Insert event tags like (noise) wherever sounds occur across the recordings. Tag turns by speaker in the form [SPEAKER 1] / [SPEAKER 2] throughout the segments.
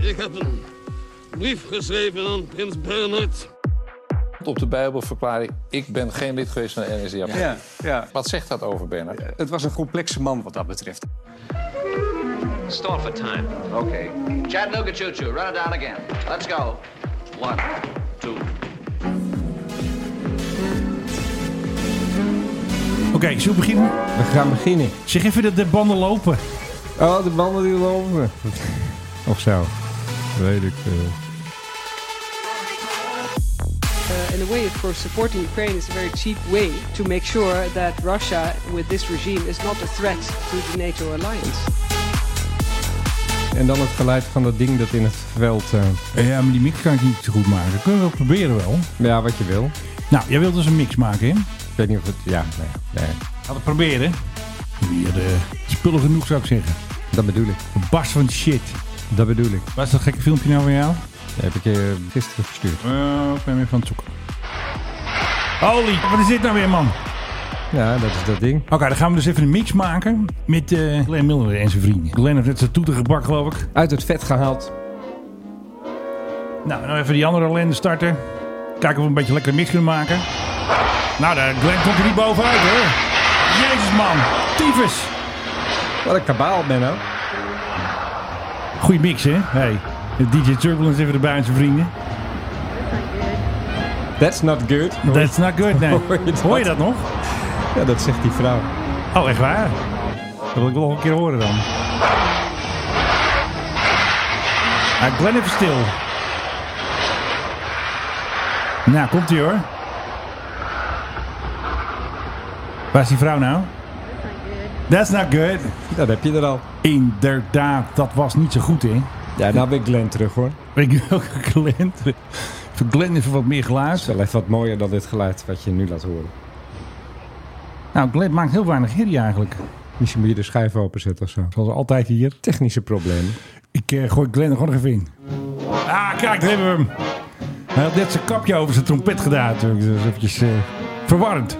[SPEAKER 1] Ik heb een brief geschreven aan prins Bernhard.
[SPEAKER 2] Op de Bijbel verklaar ik, ik ben geen lid geweest van de NSDAP.
[SPEAKER 3] Ja, ja.
[SPEAKER 2] Wat zegt dat over Bernard?
[SPEAKER 3] Het was een complexe man wat dat betreft.
[SPEAKER 4] Stall for time.
[SPEAKER 5] Okay. Chattanooga Choo Choo, run it down again. Let's go. One, two,
[SPEAKER 6] Oké, zullen we beginnen?
[SPEAKER 7] We gaan beginnen.
[SPEAKER 6] Zeg even dat de banden lopen.
[SPEAKER 7] Oh, de banden die lopen. Of zo. Weet ik eh. veel.
[SPEAKER 8] Uh, in a way, of course, supporting Ukraine is a very cheap way to make sure that Russia, with this regime, is not a threat to the NATO alliance.
[SPEAKER 7] En dan het geluid van dat ding dat in het veld... eh,
[SPEAKER 6] Ja, maar die mix kan ik niet zo goed maken. Dat kunnen we wel proberen wel.
[SPEAKER 7] ja, wat je wil.
[SPEAKER 6] Nou, jij wilt dus een mix maken, hè?
[SPEAKER 7] Ik weet niet of het... Ja, nee. nee.
[SPEAKER 6] Laten we proberen. Hier, eh, spullen genoeg zou ik zeggen.
[SPEAKER 7] Dat bedoel ik.
[SPEAKER 6] Een barst van shit.
[SPEAKER 7] Dat bedoel ik.
[SPEAKER 6] Waar is dat gekke filmpje nou van jou?
[SPEAKER 7] Dat heb ik je gisteren verstuurd.
[SPEAKER 6] Eh, ik ben weer van het zoeken. Holy, wat is dit nou weer, man? Oké,
[SPEAKER 7] Ja, dat is dat ding.
[SPEAKER 6] dan gaan we dus even een mix maken met eh Glenn Miller en zijn vrienden. Glenn heeft net zijn toeter gebak, geloof ik.
[SPEAKER 7] Uit het vet gehaald.
[SPEAKER 6] Nou, nou even die andere ellende starten. Kijken of we een beetje lekker mix kunnen maken. Nou, daar Glenn komt er niet bovenuit, hoor. Jezus, man. Tyfus.
[SPEAKER 7] Wat een kabaal, Benno.
[SPEAKER 6] Goeie mix, hè? Hey, de DJ Turbulence even erbij aan zijn vrienden.
[SPEAKER 7] That's not good.
[SPEAKER 6] That's not good, nee.
[SPEAKER 7] (laughs) Hoor je dat?
[SPEAKER 6] Hoor je dat nog?
[SPEAKER 7] Ja, dat zegt die vrouw.
[SPEAKER 6] Oh, echt waar? Dat wil ik wel nog een keer horen dan. Ah, Glenn even stil. Nou, komt ie hoor. Waar is die vrouw nou? That's not good.
[SPEAKER 7] Ja, dat heb je er al.
[SPEAKER 6] Inderdaad, dat was niet zo goed, hè?
[SPEAKER 7] Ja, nou ben ik Glenn terug, hoor.
[SPEAKER 6] Weet je welke Glenn? Voor Glenn even wat meer geluid.
[SPEAKER 7] Het is wel even wat mooier dan dit geluid wat je nu laat horen.
[SPEAKER 6] Nou, Glenn maakt heel weinig herrie eigenlijk.
[SPEAKER 7] Misschien moet je de schijf openzetten of zo.
[SPEAKER 6] Zoals altijd hier.
[SPEAKER 7] Technische problemen.
[SPEAKER 6] Ik eh, gooi Glenn er gewoon nog even in. Ah, kijk, daar hebben we hem. Hij had net zijn kapje over zijn trompet gedaan. natuurlijk. Dat is eventjes eh, verwarrend.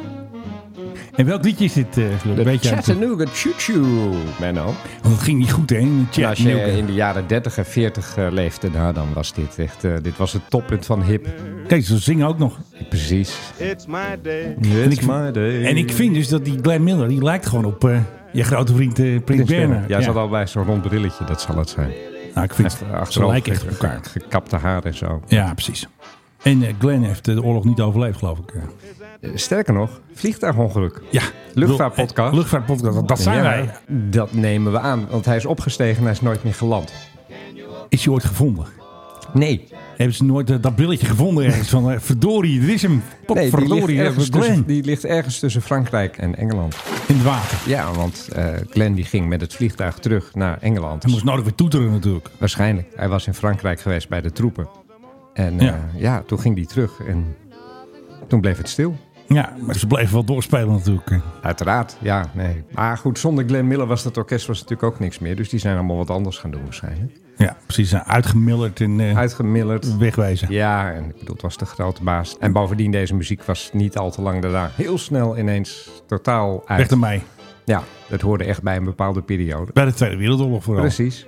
[SPEAKER 6] En welk liedje is dit? eh Glenn? Weet jij het?
[SPEAKER 7] Chattanooga Choo Choo, Menno.
[SPEAKER 6] Oh, dat ging niet goed, hè? In de
[SPEAKER 7] En
[SPEAKER 6] chat.
[SPEAKER 7] als je
[SPEAKER 6] Nieuwke.
[SPEAKER 7] in de jaren 30 en 40 eh, leefde, nou, dan was dit echt... eh, dit was het toppunt van hip.
[SPEAKER 6] Kijk, ze zingen ook nog.
[SPEAKER 7] Precies.
[SPEAKER 9] It's my day.
[SPEAKER 7] En
[SPEAKER 6] ik- En ik vind dus dat die Glenn Miller, die lijkt gewoon op eh, je grote vriend eh Prins Bernhard.
[SPEAKER 7] Ja, ze had al bij zo'n rond brilletje, dat zal het zijn.
[SPEAKER 6] Nou, ik vind ze
[SPEAKER 7] Achterover
[SPEAKER 6] lijken echt op elkaar.
[SPEAKER 7] gekapte haar en zo.
[SPEAKER 6] Ja, precies. En eh, Glenn heeft eh, de oorlog niet overleefd, geloof ik. eh.
[SPEAKER 7] Eh, Sterker nog, vliegtuigongeluk.
[SPEAKER 6] Ja.
[SPEAKER 7] Luchtvaartpodcast.
[SPEAKER 6] Eh, Luchtvaartpodcast, dat, dat zijn
[SPEAKER 7] Ja,
[SPEAKER 6] wij.
[SPEAKER 7] Dat nemen we aan, want hij is opgestegen en hij is nooit meer geland.
[SPEAKER 6] Is hij ooit gevonden?
[SPEAKER 7] Nee,
[SPEAKER 6] Hebben ze nooit eh, dat brilletje gevonden ergens? Van, eh, verdorie, dit is hem.
[SPEAKER 7] nee die,
[SPEAKER 6] Potverdorie, dat
[SPEAKER 7] ligt ergens
[SPEAKER 6] was Glenn.
[SPEAKER 7] tussen, die ligt ergens tussen Frankrijk en Engeland.
[SPEAKER 6] In het water.
[SPEAKER 7] Ja, want eh Glenn die ging met het vliegtuig terug naar Engeland.
[SPEAKER 6] Hij moest nodig weer toeteren natuurlijk.
[SPEAKER 7] Waarschijnlijk. Hij was in Frankrijk geweest bij de troepen. En eh,
[SPEAKER 6] Ja.
[SPEAKER 7] ja. toen ging hij terug en toen bleef het stil.
[SPEAKER 6] Ja, maar ze bleven wel doorspelen natuurlijk. eh.
[SPEAKER 7] Uiteraard, ja, nee. Maar goed, zonder Glenn Miller was dat orkest was natuurlijk ook niks meer. Dus die zijn allemaal wat anders gaan doen waarschijnlijk.
[SPEAKER 6] Ja, precies. eh, Uitgemilderd en eh,
[SPEAKER 7] Uitgemillerd.
[SPEAKER 6] wegwezen.
[SPEAKER 7] Ja, en ik bedoel, het was de grote baas. En bovendien, deze muziek was niet al te lang daarna heel snel ineens totaal uit.
[SPEAKER 6] Weg ermee.
[SPEAKER 7] Ja, dat hoorde echt bij een bepaalde periode.
[SPEAKER 6] Bij de Tweede Wereldoorlog vooral.
[SPEAKER 7] Precies.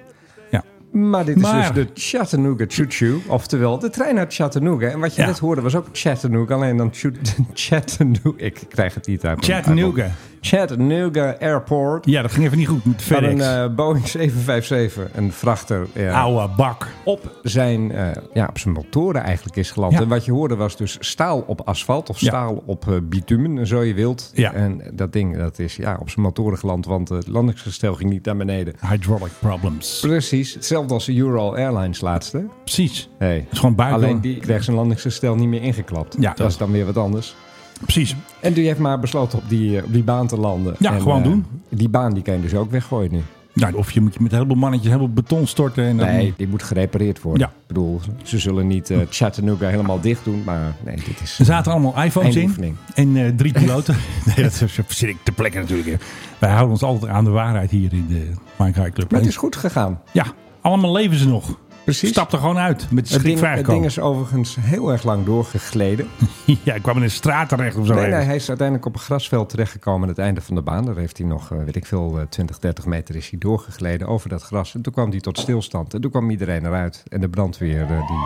[SPEAKER 6] Ja.
[SPEAKER 7] Maar dit
[SPEAKER 6] Maar-
[SPEAKER 7] is dus de Chattanooga Choo Choo, oftewel de trein naar Chattanooga. En wat je
[SPEAKER 6] Ja.
[SPEAKER 7] net hoorde was ook Chattanooga, alleen dan Choo- (laughs) Chattanooga. Ik krijg het niet uit. mijn-
[SPEAKER 6] Chattanooga.
[SPEAKER 7] uit mijn- Chattanooga Airport.
[SPEAKER 6] Ja, dat ging even niet goed met
[SPEAKER 7] Van een
[SPEAKER 6] FedEx.
[SPEAKER 7] eh, Boeing 757, een vrachter, eh,
[SPEAKER 6] Oude bak.
[SPEAKER 7] op zijn, eh, ja, op zijn motoren eigenlijk is geland.
[SPEAKER 6] Ja.
[SPEAKER 7] En wat je hoorde was dus staal op asfalt of
[SPEAKER 6] Ja.
[SPEAKER 7] staal op eh, bitumen, zo je wilt.
[SPEAKER 6] Ja.
[SPEAKER 7] En dat ding dat is ja, op zijn motoren geland, want het landingsgestel ging niet naar beneden.
[SPEAKER 6] Hydraulic problems.
[SPEAKER 7] Precies, hetzelfde als de Ural Airlines laatste.
[SPEAKER 6] Precies.
[SPEAKER 7] Hey.
[SPEAKER 6] is gewoon buiten.
[SPEAKER 7] Alleen die kreeg zijn landingsgestel niet meer ingeklapt.
[SPEAKER 6] Ja,
[SPEAKER 7] dat
[SPEAKER 6] dat-
[SPEAKER 7] is dan weer wat anders.
[SPEAKER 6] Precies.
[SPEAKER 7] En die heeft maar besloten op die, eh, op die baan te landen.
[SPEAKER 6] Ja,
[SPEAKER 7] En,
[SPEAKER 6] gewoon
[SPEAKER 7] eh,
[SPEAKER 6] doen.
[SPEAKER 7] Die baan die kan je dus ook weggooien nu.
[SPEAKER 6] Nou, of je moet met een heleboel mannetjes helemaal beton storten. En dan-
[SPEAKER 7] Nee, die moet gerepareerd worden.
[SPEAKER 6] Ja.
[SPEAKER 7] Ik bedoel, ze zullen niet eh, Chattanooga helemaal dicht doen, maar nee, dit is...
[SPEAKER 6] Er zaten allemaal iPhones in
[SPEAKER 7] Eindoefening.
[SPEAKER 6] en eh, drie piloten. (laughs) nee, dat is- zit ik ter plekke natuurlijk. hè. Wij houden ons altijd aan de waarheid hier in de Minecraft Club.
[SPEAKER 7] Maar het is goed gegaan.
[SPEAKER 6] Ja, allemaal leven ze nog.
[SPEAKER 7] Precies.
[SPEAKER 6] Stap er gewoon uit met
[SPEAKER 7] Het ding,
[SPEAKER 6] schrikvrij
[SPEAKER 7] het ding is overigens heel erg lang doorgegleden.
[SPEAKER 6] (laughs) Ja, ik kwam in een straat terecht of zo.
[SPEAKER 7] Nee, nee,
[SPEAKER 6] ergens.
[SPEAKER 7] hij is uiteindelijk op een grasveld terechtgekomen aan het einde van de baan. Daar heeft hij nog, eh, weet ik veel, eh, 20, 30 meter is hij doorgegleden over dat gras. En toen kwam hij tot stilstand. En toen kwam iedereen eruit. En de brandweer, eh, die...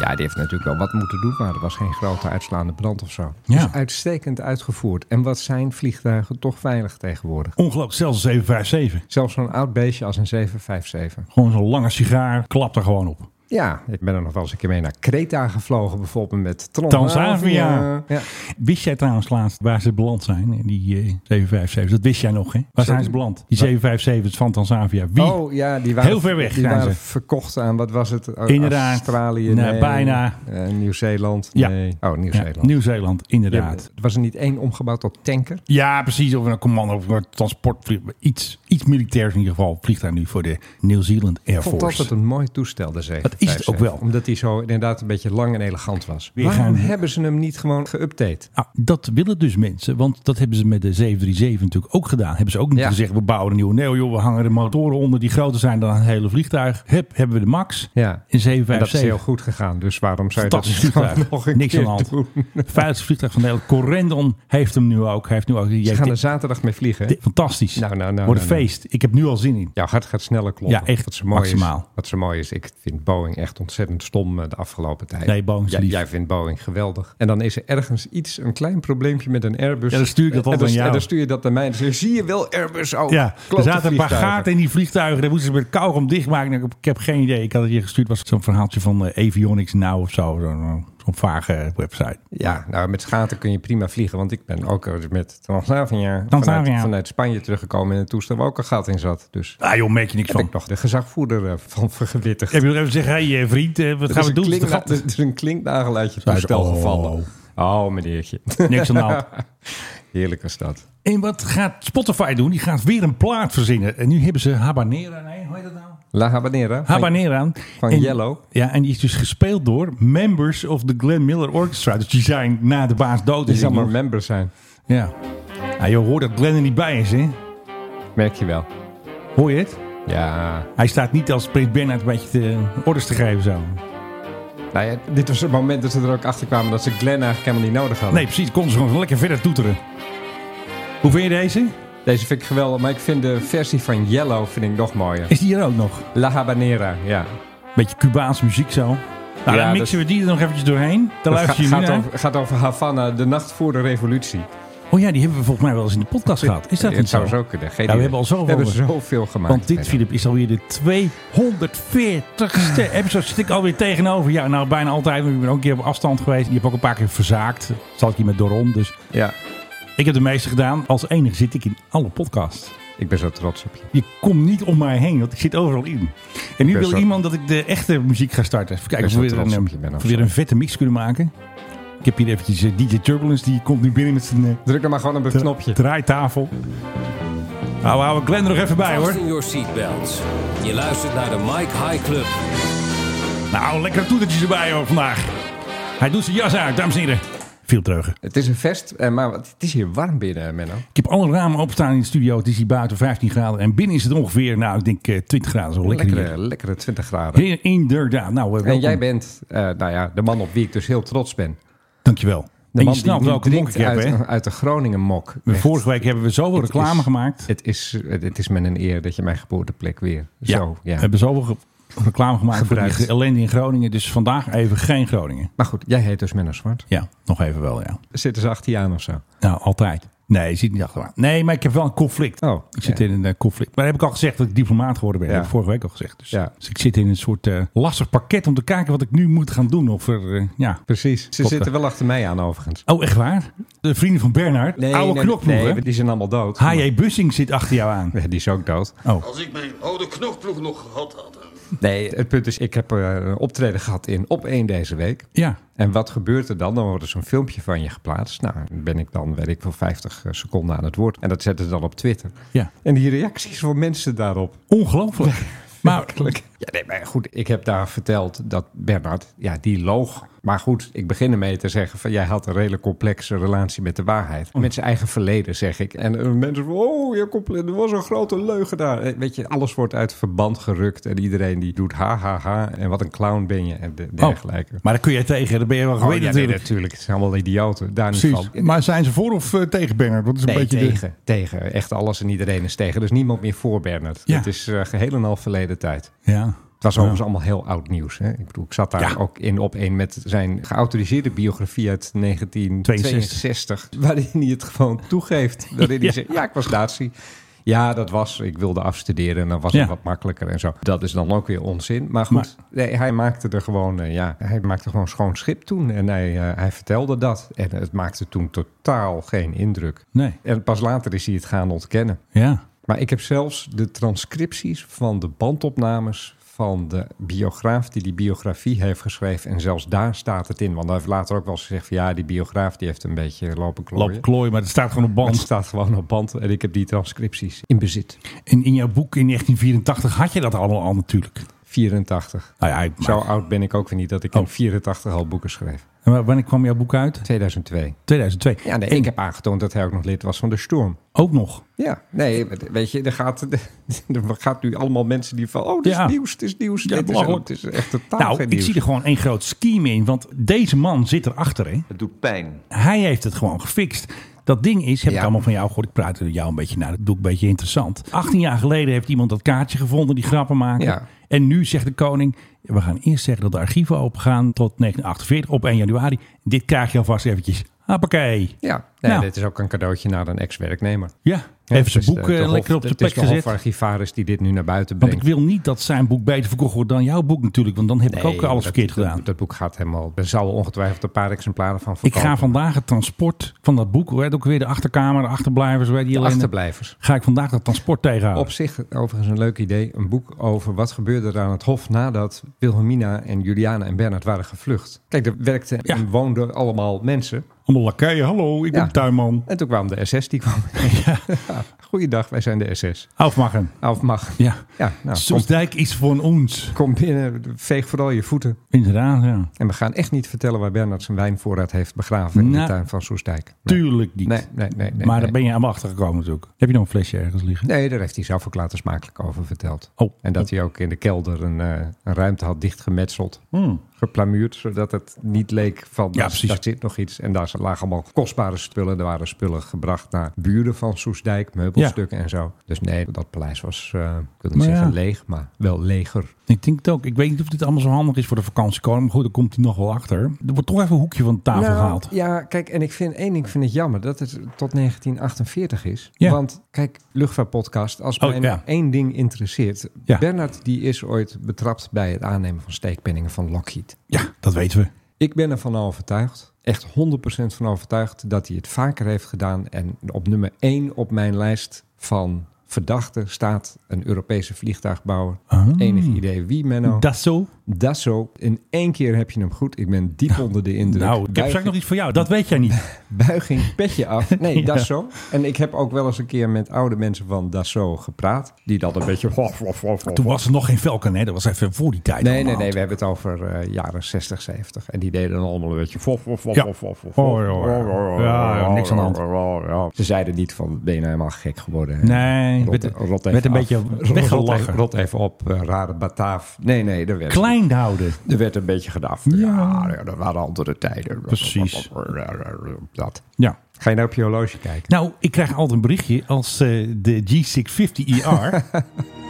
[SPEAKER 7] Ja, die heeft natuurlijk wel wat moeten doen, maar er was geen grote uitslaande brand of zo.
[SPEAKER 6] Ja.
[SPEAKER 7] Dus uitstekend uitgevoerd. En wat zijn vliegtuigen toch veilig tegenwoordig.
[SPEAKER 6] Ongelooflijk, zelfs een 757.
[SPEAKER 7] Zelfs zo'n oud beestje als een 757.
[SPEAKER 6] Gewoon zo'n lange sigaar, klapt er gewoon op.
[SPEAKER 7] Ja, ik ben er nog wel eens een keer mee naar Kreta gevlogen, bijvoorbeeld met Tron.
[SPEAKER 6] Tanzania.
[SPEAKER 7] Ja.
[SPEAKER 6] Wist jij trouwens laatst waar ze beland zijn? in Die eh, 757, dat wist jij nog, hè? Waar zijn ze beland? Die 757 van Tanzania. Wie?
[SPEAKER 7] Oh ja, die waren,
[SPEAKER 6] Heel ver weg
[SPEAKER 7] die
[SPEAKER 6] zijn
[SPEAKER 7] waren
[SPEAKER 6] ze.
[SPEAKER 7] verkocht aan, wat was het? O-
[SPEAKER 6] Inderdaad.
[SPEAKER 7] Australië,
[SPEAKER 6] Nee,
[SPEAKER 7] nee.
[SPEAKER 6] bijna.
[SPEAKER 7] Eh, Nieuw-Zeeland,
[SPEAKER 6] Ja.
[SPEAKER 7] nee. Oh,
[SPEAKER 6] Ja,
[SPEAKER 7] Nieuw-Zeeland.
[SPEAKER 6] Nieuw-Zeeland,
[SPEAKER 7] Ja,
[SPEAKER 6] inderdaad.
[SPEAKER 7] het was er niet één omgebouwd tot tanker?
[SPEAKER 6] Ja, precies. Of een commando of een transportvliegtuig. Iets, iets militairs in ieder geval vliegt daar nu voor de New Zealand Air
[SPEAKER 7] Ik vond
[SPEAKER 6] Force.
[SPEAKER 7] altijd een mooi toestel, de 757.
[SPEAKER 6] Dat is het ook wel.
[SPEAKER 7] Omdat hij zo inderdaad een beetje lang en elegant was.
[SPEAKER 6] Weer
[SPEAKER 7] Waarom
[SPEAKER 6] gaan-
[SPEAKER 7] hebben ze hem niet gewoon geüpdate?
[SPEAKER 6] Ah, dat willen dus mensen, want dat hebben ze met de 737 natuurlijk ook gedaan. Hebben ze ook niet
[SPEAKER 7] Ja.
[SPEAKER 6] gezegd, we bouwen een nieuwe. Nee joh, we hangen de motoren onder die groter zijn dan het hele vliegtuig. Hup, hebben we de max in
[SPEAKER 7] Ja. En dat is
[SPEAKER 6] 757.
[SPEAKER 7] heel goed gegaan, dus waarom zou je dat
[SPEAKER 6] Fantastisch
[SPEAKER 7] niet (laughs) gewoon
[SPEAKER 6] vliegtuig.
[SPEAKER 7] nog een
[SPEAKER 6] Niks aan
[SPEAKER 7] keer
[SPEAKER 6] de hand.
[SPEAKER 7] doen?
[SPEAKER 6] Het veiligste vliegtuig van de hele Corendon heeft hem nu ook. Hij heeft nu ook
[SPEAKER 7] Ze
[SPEAKER 6] JT
[SPEAKER 7] gaan er zaterdag mee vliegen. hè?
[SPEAKER 6] Fantastisch.
[SPEAKER 7] Nou, nou, nou,
[SPEAKER 6] Wordt
[SPEAKER 7] nou,
[SPEAKER 6] een feest. Ik heb nu al zin in.
[SPEAKER 7] Jouw hart gaat sneller kloppen.
[SPEAKER 6] Ja, echt
[SPEAKER 7] wat zo mooi Is,
[SPEAKER 6] maximaal.
[SPEAKER 7] wat zo mooi is, ik vind Boeing echt ontzettend stom eh, de afgelopen tijd.
[SPEAKER 6] Nee, Boeing is
[SPEAKER 7] jij,
[SPEAKER 6] lief.
[SPEAKER 7] jij vindt Boeing geweldig. En dan is er ergens iets, een klein probleempje met een Airbus.
[SPEAKER 6] Ja, dan stuur ik dat
[SPEAKER 7] En
[SPEAKER 6] altijd
[SPEAKER 7] dan-
[SPEAKER 6] aan jou.
[SPEAKER 7] En dan stuur je dat naar mij. En dan zeg je, zie je wel Airbus? Oh,
[SPEAKER 6] Ja, er
[SPEAKER 7] klote
[SPEAKER 6] zaten een paar
[SPEAKER 7] vliegtuigen.
[SPEAKER 6] gaten in die vliegtuigen. Daar moesten ze met kauwgom dichtmaken. Nou, Ik heb geen idee. Ik had het je gestuurd. was zo'n verhaaltje van eh, Avionics Now of zo. Zo'n eh, zo'n vage website.
[SPEAKER 7] Ja, nou met schaten kun je prima vliegen. Want ik ben ook eh, met Transavia,
[SPEAKER 6] Transavia.
[SPEAKER 7] Vanuit, vanuit Spanje teruggekomen in een toestel waar ook een gat in zat. Dus
[SPEAKER 6] Ah joh, merk je niks
[SPEAKER 7] heb
[SPEAKER 6] van.
[SPEAKER 7] ik nog de gezagvoerder eh, van vergewittigd.
[SPEAKER 6] Heb je nog even gezegd, hé hey, eh, vriend, eh, wat gaan
[SPEAKER 7] Er is
[SPEAKER 6] we
[SPEAKER 7] een
[SPEAKER 6] doen? Het
[SPEAKER 7] klinkna-
[SPEAKER 6] gat
[SPEAKER 7] Er is een klinknagel uit je
[SPEAKER 6] Zei ze,
[SPEAKER 7] toestel
[SPEAKER 6] oh.
[SPEAKER 7] gevallen. Oh, meneertje.
[SPEAKER 6] niks aan de hand.
[SPEAKER 7] (laughs) Heerlijk is dat.
[SPEAKER 6] En wat gaat Spotify doen? Die gaat weer een plaat verzinnen. En nu hebben ze Habanera. Nee, hoe heet dat nou?
[SPEAKER 7] La Habanera.
[SPEAKER 6] Habanera.
[SPEAKER 7] van
[SPEAKER 6] En-
[SPEAKER 7] Yellow.
[SPEAKER 6] Ja, en die is dus gespeeld door members of the Glenn Miller Orchestra. Dus die zijn na de baas dood.
[SPEAKER 7] Die zal
[SPEAKER 6] Ik
[SPEAKER 7] maar
[SPEAKER 6] bedoel,
[SPEAKER 7] member zijn.
[SPEAKER 6] Ja. Nou, je hoort dat Glenn er niet bij is, hè?
[SPEAKER 7] Merk je wel.
[SPEAKER 6] Hoor je het?
[SPEAKER 7] Ja.
[SPEAKER 6] Hij staat niet als Prins Bernhard een beetje te, orders te geven zo.
[SPEAKER 7] Nou ja, dit was het moment dat ze er ook achter kwamen dat ze Glenn eigenlijk helemaal niet nodig hadden.
[SPEAKER 6] Nee, precies. Konden ze gewoon lekker verder toeteren. Hoe vind je deze?
[SPEAKER 7] Deze vind ik geweldig, maar ik vind de versie van Yellow vind ik nog mooier.
[SPEAKER 6] Is die hier ook nog?
[SPEAKER 7] La Habanera, ja.
[SPEAKER 6] Beetje Cubaanse muziek zo. Nou,
[SPEAKER 7] Ja,
[SPEAKER 6] dan mixen we die er nog eventjes doorheen. Dan
[SPEAKER 7] Het
[SPEAKER 6] luister je
[SPEAKER 7] ga-
[SPEAKER 6] nu
[SPEAKER 7] gaat,
[SPEAKER 6] naar.
[SPEAKER 7] over, gaat over Havana, de nacht voor de revolutie.
[SPEAKER 6] Oh ja, die hebben we volgens mij wel eens in de podcast gehad. Is dat
[SPEAKER 7] het
[SPEAKER 6] niet zo?
[SPEAKER 7] zou zo kunnen. Geen
[SPEAKER 6] Ja, we
[SPEAKER 7] idee.
[SPEAKER 6] hebben al zoveel
[SPEAKER 7] We hebben
[SPEAKER 6] over.
[SPEAKER 7] zoveel gemaakt.
[SPEAKER 6] Want dit, Filip, is alweer de 240ste episode. Zit ik alweer tegenover. Ja, nou bijna altijd. Want ik ben ook een keer op afstand geweest. Je hebt ook een paar keer verzaakt. Zal ik hier met Doron. Dus
[SPEAKER 7] Ja,
[SPEAKER 6] ik heb de meeste gedaan. Als enige zit ik in alle podcasts.
[SPEAKER 7] ik ben zo trots op je.
[SPEAKER 6] Je komt niet om mij heen, want ik zit overal in. En nu
[SPEAKER 7] Best
[SPEAKER 6] wil
[SPEAKER 7] wel.
[SPEAKER 6] iemand dat ik de echte muziek ga starten. Even kijken of
[SPEAKER 7] Best
[SPEAKER 6] we weer
[SPEAKER 7] wel trots
[SPEAKER 6] een, eh,
[SPEAKER 7] op je ben,
[SPEAKER 6] of we
[SPEAKER 7] of
[SPEAKER 6] weer
[SPEAKER 7] zo.
[SPEAKER 6] een vette mix kunnen maken. Ik heb hier eventjes eh, DJ Turbulence, die komt nu binnen met zijn eh,
[SPEAKER 7] Druk dan maar gewoon op het knopje.
[SPEAKER 6] draaitafel. Nou, we houden Glenn er nog even bij hoor.
[SPEAKER 9] Fasten your seatbelts. Je luistert naar de Mike High Club.
[SPEAKER 6] Nou, lekkere toetertjes erbij hoor vandaag. Hij doet zijn jas uit, dames en heren. Veel treugen.
[SPEAKER 7] Het is een vest, eh, maar wat- het is hier warm binnen, Menno.
[SPEAKER 6] Ik heb alle ramen opstaan in de studio. Het is hier buiten 15 graden. En binnen is het ongeveer, nou, ik denk eh, 20 graden. Zo lekker
[SPEAKER 7] Lekkere,
[SPEAKER 6] hier.
[SPEAKER 7] lekkere 20 graden.
[SPEAKER 6] Heer, inderdaad. Nou, eh, welkom.
[SPEAKER 7] En jij bent, eh, nou ja, de man op wie ik dus heel trots ben.
[SPEAKER 6] Dankjewel.
[SPEAKER 7] De
[SPEAKER 6] en
[SPEAKER 7] man
[SPEAKER 6] je snapt
[SPEAKER 7] die nu
[SPEAKER 6] welke monk ik
[SPEAKER 7] drinkt
[SPEAKER 6] heb,
[SPEAKER 7] uit,
[SPEAKER 6] hè?
[SPEAKER 7] uit de Groningen mok.
[SPEAKER 6] We Vorige week hebben we zoveel
[SPEAKER 7] Het
[SPEAKER 6] reclame
[SPEAKER 7] is-
[SPEAKER 6] gemaakt.
[SPEAKER 7] Het is, het is met een eer dat je mijn geboorteplek weer zo...
[SPEAKER 6] We
[SPEAKER 7] Ja.
[SPEAKER 6] hebben zoveel ge- reclame gemaakt
[SPEAKER 7] Gebruikt.
[SPEAKER 6] voor die ellende in Groningen. Dus vandaag even geen Groningen.
[SPEAKER 7] Maar goed, jij heet dus Menno Zwart.
[SPEAKER 6] Ja, nog even wel, ja.
[SPEAKER 7] Zitten ze achter je aan of zo?
[SPEAKER 6] Nou, altijd. Nee, je zit niet achter me. aan. Nee, maar ik heb wel een conflict.
[SPEAKER 7] Oh,
[SPEAKER 6] ik zit
[SPEAKER 7] ja.
[SPEAKER 6] in een eh, conflict. Maar dat heb ik al gezegd dat ik diplomaat geworden ben.
[SPEAKER 7] Ja.
[SPEAKER 6] Dat heb ik vorige week al gezegd. Dus,
[SPEAKER 7] Ja.
[SPEAKER 6] dus ik zit in een soort eh, lastig pakket om te kijken wat ik nu moet gaan doen. Of er, eh, ja.
[SPEAKER 7] Precies. Ze
[SPEAKER 6] Klopt,
[SPEAKER 7] zitten wel achter mij aan overigens.
[SPEAKER 6] Oh, echt waar? De vrienden van Bernard, oude
[SPEAKER 7] nee,
[SPEAKER 6] knokploegen.
[SPEAKER 7] nee, die zijn allemaal dood.
[SPEAKER 6] H.J. Bussing zit achter jou aan.
[SPEAKER 7] Ja, die is ook dood.
[SPEAKER 1] Als ik mijn oude knokploeg nog gehad had. hè.
[SPEAKER 7] Nee, het punt is, ik heb eh, een optreden gehad in Op 1 deze week.
[SPEAKER 6] Ja.
[SPEAKER 7] En wat gebeurt er dan? Dan wordt er zo'n filmpje van je geplaatst. Nou, ben ik dan, weet ik wel, 50 seconden aan het woord. En dat zetten ze dan op Twitter.
[SPEAKER 6] Ja.
[SPEAKER 7] En die reacties van mensen daarop.
[SPEAKER 6] Ongelooflijk. maar
[SPEAKER 7] Ja, nee, maar goed, ik heb daar verteld dat Bernard, ja, die loog. Maar goed, ik begin ermee te zeggen van jij had een redelijk complexe relatie met de waarheid. Met zijn eigen verleden zeg ik. En eh, mensen van, oh, je compl- er was een grote leugen daar. Eh, Weet je, alles wordt uit verband gerukt en iedereen die doet ha ha ha en wat een clown ben je en de-
[SPEAKER 6] Oh.
[SPEAKER 7] dergelijke.
[SPEAKER 6] Maar daar kun je tegen, daar ben je wel
[SPEAKER 7] Oh,
[SPEAKER 6] gewend
[SPEAKER 7] ja, nee,
[SPEAKER 6] natuurlijk.
[SPEAKER 7] Oh. natuurlijk. Het zijn allemaal idioten. Daar niet
[SPEAKER 10] Precies.
[SPEAKER 7] van.
[SPEAKER 10] Maar zijn ze voor of eh, tegen Bernard? Dat is een
[SPEAKER 7] Nee,
[SPEAKER 10] beetje de-
[SPEAKER 7] tegen, tegen. Echt alles en iedereen is tegen. Dus niemand meer voor Bernard.
[SPEAKER 6] Ja.
[SPEAKER 7] Het is eh, geheel en al verleden tijd.
[SPEAKER 6] Ja.
[SPEAKER 7] Het was overigens allemaal heel oud nieuws. Hè? Ik bedoel, ik zat daar ook in op één met zijn geautoriseerde biografie uit 1962. Waarin hij het gewoon toegeeft. Waarin hij zegt, ja, ik was Nazi. Ja, dat was, ik wilde afstuderen en dan was
[SPEAKER 6] Ja.
[SPEAKER 7] het wat makkelijker en zo. Dat is dan ook weer onzin. Maar goed, nee, hij maakte er gewoon, eh, ja, hij maakte gewoon schoon schip toen. En hij, eh, hij vertelde dat. En het maakte toen totaal geen indruk.
[SPEAKER 6] Nee.
[SPEAKER 7] En pas later is hij het gaan ontkennen.
[SPEAKER 6] Ja.
[SPEAKER 7] Maar ik heb zelfs de transcripties van de bandopnames van de biograaf die die biografie heeft geschreven. En zelfs daar staat het in. Want hij heeft later ook wel eens gezegd van ja, die biograaf die heeft een beetje lopen klooien.
[SPEAKER 6] Loop klooi, maar het staat gewoon op
[SPEAKER 7] Maar het
[SPEAKER 6] band.
[SPEAKER 7] staat gewoon op band en ik heb die transcripties in bezit.
[SPEAKER 6] En in jouw boek in 1984 had je dat allemaal al natuurlijk.
[SPEAKER 7] 84.
[SPEAKER 6] Nou ja, ik-
[SPEAKER 7] Zo oud ben ik ook weer niet dat ik in
[SPEAKER 6] Oh.
[SPEAKER 7] 84 al boeken schreef.
[SPEAKER 6] maar wanneer kwam jouw boek uit?
[SPEAKER 7] 2002.
[SPEAKER 6] 2002.
[SPEAKER 7] Ja, nee,
[SPEAKER 6] En
[SPEAKER 7] ik heb aangetoond dat hij ook nog lid was van de Storm.
[SPEAKER 6] ook nog.
[SPEAKER 7] Ja, nee, weet je, er gaat, (laughs) er gaat nu allemaal mensen die van... oh, dit is
[SPEAKER 6] Ja.
[SPEAKER 7] nieuws, dit is nieuws. dit is,
[SPEAKER 6] belachelijk.
[SPEAKER 7] het is echt totaal
[SPEAKER 6] Nou,
[SPEAKER 7] Oh, geen
[SPEAKER 6] ik
[SPEAKER 7] nieuws.
[SPEAKER 6] zie er gewoon één groot scheme in. Want deze man zit erachter, hè?
[SPEAKER 5] Het doet pijn.
[SPEAKER 6] Hij heeft het gewoon gefixt. Dat ding is, heb ik
[SPEAKER 7] Ja.
[SPEAKER 6] allemaal van jou gehoord. Ik praat er jou een beetje naar. Dat doe ik een beetje interessant. 18 jaar geleden heeft iemand dat kaartje gevonden, die grappen maken.
[SPEAKER 7] Ja.
[SPEAKER 6] En nu zegt de koning, we gaan eerst zeggen dat de archieven opengaan tot 1948 op 1 januari. Dit krijg je alvast eventjes. Hoppakee.
[SPEAKER 7] Ja, nee,
[SPEAKER 6] Nou.
[SPEAKER 7] dit is ook een cadeautje naar een ex-werknemer.
[SPEAKER 6] Ja,
[SPEAKER 7] Ja,
[SPEAKER 6] even
[SPEAKER 7] het
[SPEAKER 6] zijn
[SPEAKER 7] is
[SPEAKER 6] boek
[SPEAKER 7] de-
[SPEAKER 6] eh,
[SPEAKER 7] de hof-
[SPEAKER 6] lekker op
[SPEAKER 7] het
[SPEAKER 6] zijn plek
[SPEAKER 7] is de
[SPEAKER 6] gezet.
[SPEAKER 7] hofarchivaris die dit nu naar buiten
[SPEAKER 6] Want
[SPEAKER 7] brengt.
[SPEAKER 6] ik wil niet dat zijn boek beter verkocht wordt dan jouw boek natuurlijk. Want dan heb ik
[SPEAKER 7] Nee,
[SPEAKER 6] ook alles
[SPEAKER 7] dat-
[SPEAKER 6] verkeerd
[SPEAKER 7] dat-
[SPEAKER 6] gedaan.
[SPEAKER 7] Dat, boek gaat helemaal... Er zouden ongetwijfeld een paar exemplaren van
[SPEAKER 6] ik
[SPEAKER 7] verkopen.
[SPEAKER 6] ga vandaag het transport van dat boek. Hoe heet het ook weer de achterkamer, de achterblijvers. Weet die
[SPEAKER 7] De
[SPEAKER 6] alleen,
[SPEAKER 7] achterblijvers.
[SPEAKER 6] Ga ik vandaag dat transport tegenhouden.
[SPEAKER 7] Op zich overigens een leuk idee. Een boek over wat gebeurde er aan het hof nadat Wilhelmina en Juliana en Bernard waren gevlucht. Kijk, er werkten
[SPEAKER 6] Ja.
[SPEAKER 7] en woonden allemaal mensen.
[SPEAKER 6] Allemaal lakeien. Hallo, ik
[SPEAKER 7] Ja.
[SPEAKER 6] ben tuinman.
[SPEAKER 7] En toen kwam de SS,
[SPEAKER 6] (laughs)
[SPEAKER 7] die kwam. (laughs) Ja. Goeiedag, wij zijn de SS.
[SPEAKER 6] Aufmachen.
[SPEAKER 7] Of mag.
[SPEAKER 6] Ja.
[SPEAKER 7] Ja, nou, kom,
[SPEAKER 6] Soesdijk is van ons.
[SPEAKER 7] kom binnen, veeg vooral je voeten.
[SPEAKER 6] Inderdaad, ja.
[SPEAKER 7] En we gaan echt niet vertellen waar Bernard zijn wijnvoorraad heeft begraven in
[SPEAKER 6] Nou,
[SPEAKER 7] de tuin van Soestdijk. Nee.
[SPEAKER 6] Tuurlijk niet.
[SPEAKER 7] Nee, nee, nee. nee
[SPEAKER 6] maar daar
[SPEAKER 7] nee.
[SPEAKER 6] ben je aan achtergekomen natuurlijk. Heb je nog een flesje ergens liggen?
[SPEAKER 7] Nee, daar heeft hij zelf ook later smakelijk over verteld.
[SPEAKER 6] Oh.
[SPEAKER 7] En dat hij ook in de kelder een, eh, een ruimte had dichtgemetseld.
[SPEAKER 6] Hmm.
[SPEAKER 7] Geplamuurd, zodat het niet leek van
[SPEAKER 6] Ja,
[SPEAKER 7] daar-
[SPEAKER 6] precies.
[SPEAKER 7] daar zit nog iets. En daar lagen allemaal kostbare spullen. Er waren spullen gebracht naar buren van Soestdijk, meubelstukken en zo. Dus nee, dat paleis was, eh, ik wil niet
[SPEAKER 6] Maar
[SPEAKER 7] zeggen
[SPEAKER 6] ja.
[SPEAKER 7] leeg, maar wel leger.
[SPEAKER 6] Ik denk het ook. Ik weet niet of dit allemaal zo handig is voor de vakantiekoning. Maar goed, daar komt hij nog wel achter. Er wordt toch even een hoekje van de tafel
[SPEAKER 7] Nou,
[SPEAKER 6] gehaald.
[SPEAKER 7] Ja, kijk, en ik vind één ding vind ik jammer dat het tot 1948 is.
[SPEAKER 6] Ja.
[SPEAKER 7] Want kijk, luchtvaartpodcast, als
[SPEAKER 6] Oh,
[SPEAKER 7] mij
[SPEAKER 6] ja.
[SPEAKER 7] één ding interesseert.
[SPEAKER 6] Ja.
[SPEAKER 7] Bernard die is ooit betrapt bij het aannemen van steekpenningen van Lockheed.
[SPEAKER 6] Ja, dat weten we.
[SPEAKER 7] Ik ben ervan overtuigd, echt 100% van overtuigd, dat hij het vaker heeft gedaan. En op nummer één op mijn lijst van verdachten staat een Europese vliegtuigbouwer.
[SPEAKER 6] Ah.
[SPEAKER 7] Enig idee wie, Menno.
[SPEAKER 6] Dat zo.
[SPEAKER 7] Dasso. In één keer heb je hem goed. Ik ben diep onder de indruk.
[SPEAKER 6] Nou, ik heb
[SPEAKER 7] Buiging-
[SPEAKER 6] straks nog iets voor jou. Dat weet jij niet.
[SPEAKER 7] buiging, petje af. Nee, dat is zo. En ik heb ook wel eens een keer met oude mensen van Dassault gepraat. Die dat een beetje...
[SPEAKER 6] Toen was er nog geen Falcon, hè? Dat was even voor die tijd.
[SPEAKER 7] Nee, nee,
[SPEAKER 6] allemaal.
[SPEAKER 7] nee. We hebben het over eh, jaren 60, 70. En die deden dan allemaal een beetje...
[SPEAKER 6] Ja. Oh, ja, ja. Ja, ja, niks aan de hand.
[SPEAKER 7] Ze zeiden niet van, ben je nou helemaal gek geworden? hè?
[SPEAKER 6] Nee,
[SPEAKER 7] Rot-
[SPEAKER 6] werd-
[SPEAKER 7] rot even
[SPEAKER 6] werd een
[SPEAKER 7] af.
[SPEAKER 6] beetje
[SPEAKER 7] Rot- rot-
[SPEAKER 6] weggelachen.
[SPEAKER 7] Rot even op, eh, rare Bataaf. Nee, nee, er werd,
[SPEAKER 6] Klein houden.
[SPEAKER 7] er werd een beetje gedacht. Ja, ja, dat waren andere tijden.
[SPEAKER 6] Precies.
[SPEAKER 7] Dat.
[SPEAKER 6] Ja.
[SPEAKER 7] Ga je nou op je horloge kijken?
[SPEAKER 6] Nou, ik krijg altijd een berichtje als eh, de
[SPEAKER 7] (laughs)
[SPEAKER 6] G650ER... E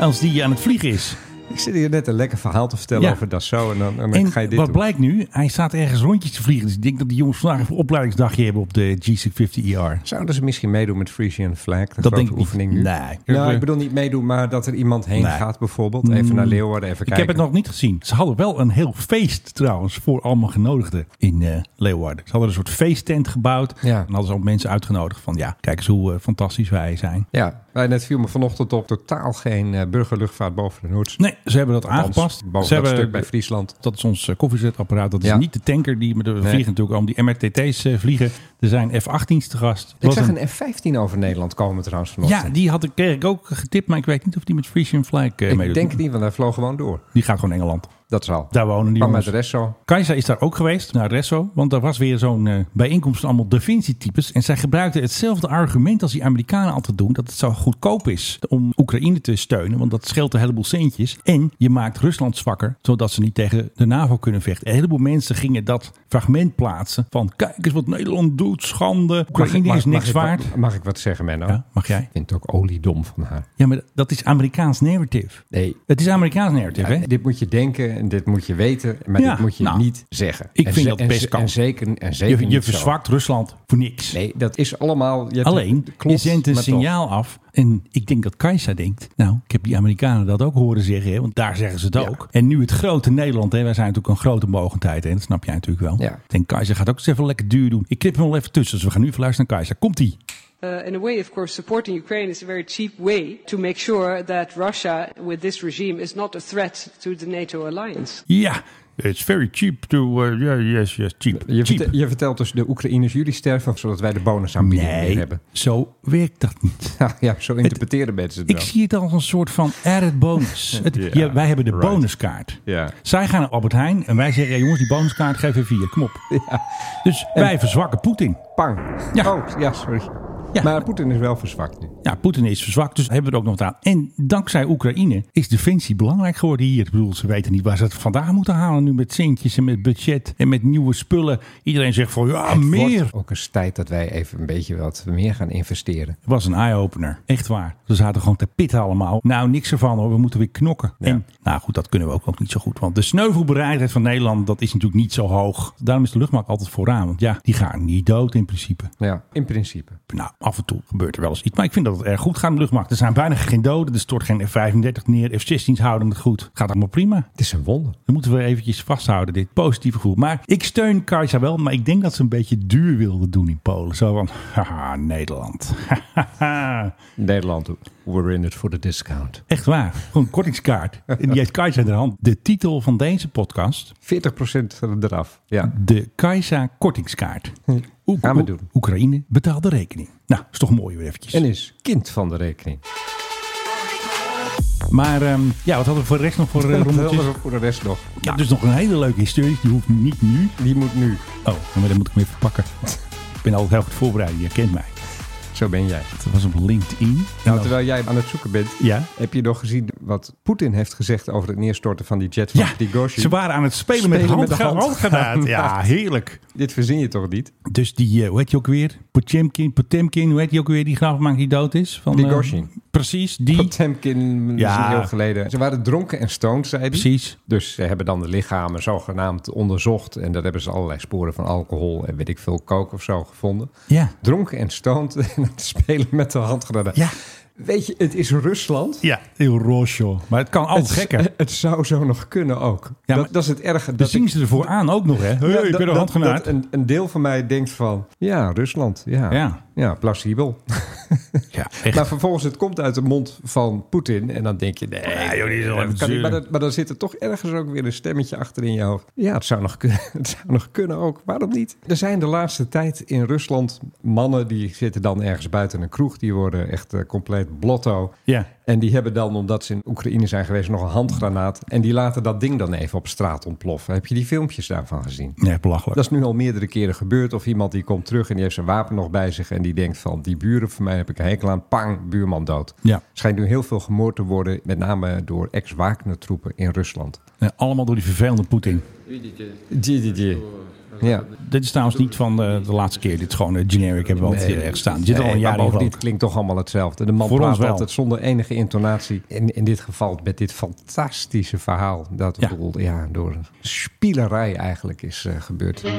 [SPEAKER 6] als die aan het vliegen is.
[SPEAKER 7] Ik zit hier net een lekker verhaal te vertellen
[SPEAKER 6] Ja.
[SPEAKER 7] over Dassault en dan, en dan
[SPEAKER 6] En
[SPEAKER 7] ga je
[SPEAKER 6] wat
[SPEAKER 7] dit doen.
[SPEAKER 6] blijkt nu? Hij staat ergens rondjes te vliegen. Dus ik denk dat die jongens vandaag even een opleidingsdagje hebben op de G650ER.
[SPEAKER 7] Zouden ze misschien meedoen met Frisian Flag? De
[SPEAKER 6] E Dat
[SPEAKER 7] grote
[SPEAKER 6] denk ik niet.
[SPEAKER 7] oefening
[SPEAKER 6] Nee.
[SPEAKER 7] nu. Nou, ik bedoel niet meedoen, maar dat er iemand heen
[SPEAKER 6] Nee. Mm.
[SPEAKER 7] gaat bijvoorbeeld. Even naar Leeuwarden, even
[SPEAKER 6] Ik
[SPEAKER 7] kijken.
[SPEAKER 6] heb het nog niet gezien. Ze hadden wel een heel feest trouwens voor allemaal genodigden in eh, Leeuwarden. Ze hadden een soort feesttent gebouwd.
[SPEAKER 7] Ja.
[SPEAKER 6] En hadden ze ook mensen uitgenodigd van ja, kijk eens hoe eh, fantastisch wij zijn.
[SPEAKER 7] Ja, maar net viel me vanochtend op totaal geen eh, burgerluchtvaart boven de Noordzee.
[SPEAKER 6] Nee, ze hebben dat aangepast.
[SPEAKER 7] Boven
[SPEAKER 6] ze
[SPEAKER 7] dat
[SPEAKER 6] hebben,
[SPEAKER 7] stuk bij Friesland.
[SPEAKER 6] Dat is ons eh, koffiezetapparaat. Dat is
[SPEAKER 7] Ja.
[SPEAKER 6] niet de tanker die met de vliegen natuurlijk om die MRTT's eh, vliegen. Er zijn F-18's te gast.
[SPEAKER 7] Ik
[SPEAKER 6] Was
[SPEAKER 7] zag
[SPEAKER 6] een-
[SPEAKER 7] een F-15 over Nederland komen trouwens vanochtend.
[SPEAKER 6] ja, die had ik, kreeg ik ook getipt, maar ik weet niet of die met Frisian Flag eh
[SPEAKER 7] ik
[SPEAKER 6] meedoet.
[SPEAKER 7] denk niet, want hij vloog gewoon door.
[SPEAKER 6] Die gaat gewoon Engeland.
[SPEAKER 7] Dat is al.
[SPEAKER 6] Daar wonen die
[SPEAKER 7] Kwam uit
[SPEAKER 6] jongens.
[SPEAKER 7] Resso.
[SPEAKER 6] Kajsa is daar ook geweest, naar Resso. Want daar was weer zo'n eh, bijeenkomst van allemaal Da Vinci-types. En zij gebruikten hetzelfde argument als die Amerikanen altijd doen. Dat het zo goedkoop is om Oekraïne te steunen. Want dat scheelt een heleboel centjes. En je maakt Rusland zwakker, zodat ze niet tegen de NAVO kunnen vechten. Een heleboel mensen gingen dat fragment plaatsen. Van kijk eens wat Nederland doet, schande. Oekraïne is niks
[SPEAKER 7] ik wat-
[SPEAKER 6] waard.
[SPEAKER 7] mag ik wat zeggen, Menno?
[SPEAKER 6] Ja, mag jij?
[SPEAKER 7] Ik vind het ook oliedom van haar.
[SPEAKER 6] Ja, maar dat is Amerikaans narrative.
[SPEAKER 7] Nee.
[SPEAKER 6] Het is Amerikaans narrative, hè?
[SPEAKER 7] Dit moet je denken en dit moet je weten, maar
[SPEAKER 6] Ja,
[SPEAKER 7] dit moet je
[SPEAKER 6] nou,
[SPEAKER 7] niet zeggen.
[SPEAKER 6] ik
[SPEAKER 7] En
[SPEAKER 6] vind
[SPEAKER 7] ze-
[SPEAKER 6] dat
[SPEAKER 7] en
[SPEAKER 6] best
[SPEAKER 7] ze-
[SPEAKER 6] kan.
[SPEAKER 7] En zeker, en zeker
[SPEAKER 6] Je, je
[SPEAKER 7] niet zo.
[SPEAKER 6] verzwakt Rusland voor niks.
[SPEAKER 7] Nee, dat is allemaal... je hebt-
[SPEAKER 6] Alleen,
[SPEAKER 7] klopt,
[SPEAKER 6] je zendt een
[SPEAKER 7] maar toch.
[SPEAKER 6] signaal af. En ik denk dat Kajsa denkt, nou, ik heb die Amerikanen dat ook horen zeggen. Hè, want daar zeggen ze het ook. En nu het grote Nederland, hè, wij zijn natuurlijk een grote mogendheid. Hè, dat snap jij natuurlijk wel.
[SPEAKER 7] Ja.
[SPEAKER 6] Ik denk, Kajsa gaat ook eens even lekker duur doen. Ik knip hem wel even tussen. Dus we gaan nu even luisteren naar Kajsa. Komt-ie.
[SPEAKER 8] Uh, in a way, of course, supporting Ukraine is a very cheap way to make sure that Russia, with this regime, is not a threat to the NATO alliance.
[SPEAKER 6] Ja. It's very cheap to... Uh, yeah, yes, yes, cheap.
[SPEAKER 7] Je,
[SPEAKER 6] cheap.
[SPEAKER 7] vertelt, je vertelt dus de Oekraïners jullie sterven, zodat wij de bonus aanbieding
[SPEAKER 6] nee,
[SPEAKER 7] weer hebben. (laughs)
[SPEAKER 6] zo werkt dat niet.
[SPEAKER 7] Ja, ja, zo interpreteren mensen het
[SPEAKER 6] Ik
[SPEAKER 7] wel.
[SPEAKER 6] zie het als een soort van added
[SPEAKER 7] (laughs)
[SPEAKER 6] bonus. Het-
[SPEAKER 7] Ja,
[SPEAKER 6] ja, wij hebben de
[SPEAKER 7] right.
[SPEAKER 6] bonuskaart.
[SPEAKER 7] Ja.
[SPEAKER 6] Zij gaan naar Albert Heijn en wij zeggen... "Ja, jongens, die bonuskaart geef er vier,
[SPEAKER 7] (laughs)
[SPEAKER 6] kom op. Dus wij verzwakken Poetin.
[SPEAKER 7] Pang.
[SPEAKER 6] Ja.
[SPEAKER 7] Oh, ja, sorry.
[SPEAKER 6] Ja.
[SPEAKER 7] Maar Poetin is wel verzwakt nu.
[SPEAKER 6] Ja, Poetin is verzwakt, dus hebben we er ook nog wat aan. En dankzij Oekraïne is defensie belangrijk geworden hier. Ik bedoel, ze weten niet waar ze het vandaan moeten halen nu met centjes en met budget en met nieuwe spullen. Iedereen zegt van ja,
[SPEAKER 7] Het
[SPEAKER 6] meer.
[SPEAKER 7] wordt ook eens tijd dat wij even een beetje wat meer gaan investeren.
[SPEAKER 6] Het was een eye-opener. Echt waar. Ze zaten gewoon te pitten allemaal. Nou, niks ervan hoor. We moeten weer knokken. En nou goed, dat kunnen we ook nog niet zo goed. Want de sneuvelbereidheid van Nederland, dat is natuurlijk niet zo hoog. Daarom is de luchtmacht altijd vooraan. Want ja, die gaan niet dood in principe.
[SPEAKER 7] Ja, in principe.
[SPEAKER 6] Nou, af en toe gebeurt er wel eens iets. Maar ik vind dat het erg goed gaat in de luchtmacht. Er zijn bijna geen doden. Er stort geen F-35 neer. F-16's houden het goed. Gaat allemaal prima.
[SPEAKER 7] Het is een wonder.
[SPEAKER 6] Dan moeten we eventjes vasthouden, dit positieve gevoel. Maar ik steun Kajsa wel, maar ik denk dat ze een beetje duur wilde doen in Polen. Zo van, (laughs) haha, Nederland. (laughs) Hahaha.
[SPEAKER 7] Nederland, we're in it for the discount. 40%
[SPEAKER 6] Echt waar. Gewoon een kortingskaart. En die heeft Kajsa in de hand. De titel van deze podcast.
[SPEAKER 7] eraf. Ja.
[SPEAKER 6] De Kajsa kortingskaart. Oek-
[SPEAKER 7] Gaan we doen.
[SPEAKER 6] Oekraïne betaalt de rekening. Nou, is toch mooi weer eventjes.
[SPEAKER 7] En is kind van de
[SPEAKER 6] (laughs)
[SPEAKER 7] rekening.
[SPEAKER 6] Maar ehm, ja, wat hadden we voor de rest nog
[SPEAKER 7] (laughs)
[SPEAKER 6] voor eh,
[SPEAKER 7] Dat
[SPEAKER 6] rommeltjes?
[SPEAKER 7] hadden we voor de rest nog.
[SPEAKER 6] Ik heb dus nog een hele leuke historie. Die hoeft niet nu.
[SPEAKER 7] Die moet nu.
[SPEAKER 6] Oh, maar dan moet ik hem even pakken. Ik ben altijd heel goed voorbereid. Je kent mij.
[SPEAKER 7] Zo ben jij.
[SPEAKER 6] Dat was op LinkedIn.
[SPEAKER 7] Nou, terwijl jij aan het zoeken bent,
[SPEAKER 6] Ja.
[SPEAKER 7] heb je nog gezien wat Poetin heeft gezegd over het neerstorten van die jet van
[SPEAKER 6] Ja,
[SPEAKER 7] Prigozhin?
[SPEAKER 6] ze waren aan het spelen, met,
[SPEAKER 7] Spelen
[SPEAKER 6] hand,
[SPEAKER 7] met de hand.
[SPEAKER 6] handgranaat.
[SPEAKER 7] (laughs)
[SPEAKER 6] Ja, heerlijk.
[SPEAKER 7] Dit verzin je toch niet?
[SPEAKER 6] Dus die, eh hoe heet je ook weer? Potemkin, Potemkin, hoe heet die ook weer? Die grafmaak die dood is? Van,
[SPEAKER 7] Prigozhin.
[SPEAKER 6] eh, precies, die.
[SPEAKER 7] Potemkin
[SPEAKER 6] Ja.
[SPEAKER 7] is een eeuw geleden. Ze waren dronken en stoned, zei hij.
[SPEAKER 6] Precies.
[SPEAKER 7] Dus ze hebben dan de lichamen zogenaamd onderzocht. En daar hebben ze allerlei sporen van alcohol en weet ik veel, kook of zo gevonden.
[SPEAKER 6] Ja.
[SPEAKER 7] Dronken en stoned (laughs) en aan het spelen met de handgranaten.
[SPEAKER 6] Ja.
[SPEAKER 7] Weet je, het is Rusland.
[SPEAKER 6] Ja, heel roosje. Maar het kan altijd gekker.
[SPEAKER 7] (laughs) Het, het zou zo nog kunnen ook.
[SPEAKER 6] maar-
[SPEAKER 7] dat, dat is het erge.
[SPEAKER 6] Dan
[SPEAKER 7] Dat
[SPEAKER 6] zien ze ervoor aan ook nog, hè? Hey,
[SPEAKER 7] Ja,
[SPEAKER 6] ik
[SPEAKER 7] dat-
[SPEAKER 6] ben een
[SPEAKER 7] dat- dat
[SPEAKER 6] handgranaat.
[SPEAKER 7] een, een deel van mij denkt van, ja, Rusland, ja,
[SPEAKER 6] Ja.
[SPEAKER 7] ja. plausibel.
[SPEAKER 6] Ja, echt.
[SPEAKER 7] Maar vervolgens, het komt uit de mond van Poetin en dan denk je, nee,
[SPEAKER 6] Ja, joh, die is al even
[SPEAKER 7] dat kan niet. maar,
[SPEAKER 6] zeuren.
[SPEAKER 7] dat- maar dan zit er toch ergens ook weer een stemmetje achter in je hoofd. Ja, het zou nog kunnen, (laughs) het zou nog kunnen ook, waarom niet? Er zijn de laatste tijd in Rusland mannen die zitten dan ergens buiten een kroeg, die worden echt eh, compleet blotto.
[SPEAKER 6] Ja.
[SPEAKER 7] En die hebben dan, omdat ze in Oekraïne zijn geweest, nog een handgranaat. En die laten dat ding dan even op straat ontploffen. Heb je die filmpjes daarvan gezien?
[SPEAKER 6] Nee, belachelijk.
[SPEAKER 7] Dat is nu al meerdere keren gebeurd. Of iemand die komt terug en die heeft zijn wapen nog bij zich. En die denkt van, die buren van mij heb ik een hekel aan. Pang, buurman dood.
[SPEAKER 6] Ja.
[SPEAKER 7] Schijnt nu heel veel gemoord te worden. Met name door ex-Wagner troepen in Rusland.
[SPEAKER 6] Ja, allemaal door die vervelende Poetin.
[SPEAKER 7] Ja.
[SPEAKER 6] Dit is trouwens niet van eh, de laatste keer. Dit is gewoon eh, generic hebben we al eerder ergens staan. Dit zit al
[SPEAKER 7] Nee,
[SPEAKER 6] een
[SPEAKER 7] maar
[SPEAKER 6] jaar in
[SPEAKER 7] bovendien
[SPEAKER 6] rood.
[SPEAKER 7] het klinkt toch allemaal hetzelfde. De man
[SPEAKER 6] Voor ons
[SPEAKER 7] praat
[SPEAKER 6] wel.
[SPEAKER 7] altijd zonder enige intonatie. In, in dit geval met dit fantastische verhaal. Dat
[SPEAKER 6] Ja.
[SPEAKER 7] ja. ja, door een spielerij eigenlijk is eh, gebeurd.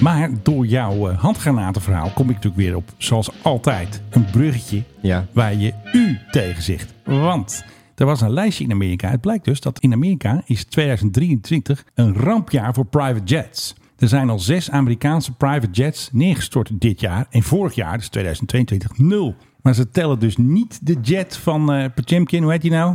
[SPEAKER 6] Maar door jouw eh, handgranatenverhaal kom ik natuurlijk weer op, zoals altijd, een bruggetje
[SPEAKER 7] Ja.
[SPEAKER 6] waar je u tegen zegt. Want er was een lijstje in Amerika. Het blijkt dus dat in Amerika is 2023 een rampjaar voor private jets. Er zijn al zes Amerikaanse private jets neergestort dit jaar en vorig jaar, dus 2022, nul. Maar ze tellen dus niet de jet van eh Potemkin, hoe heet die nou?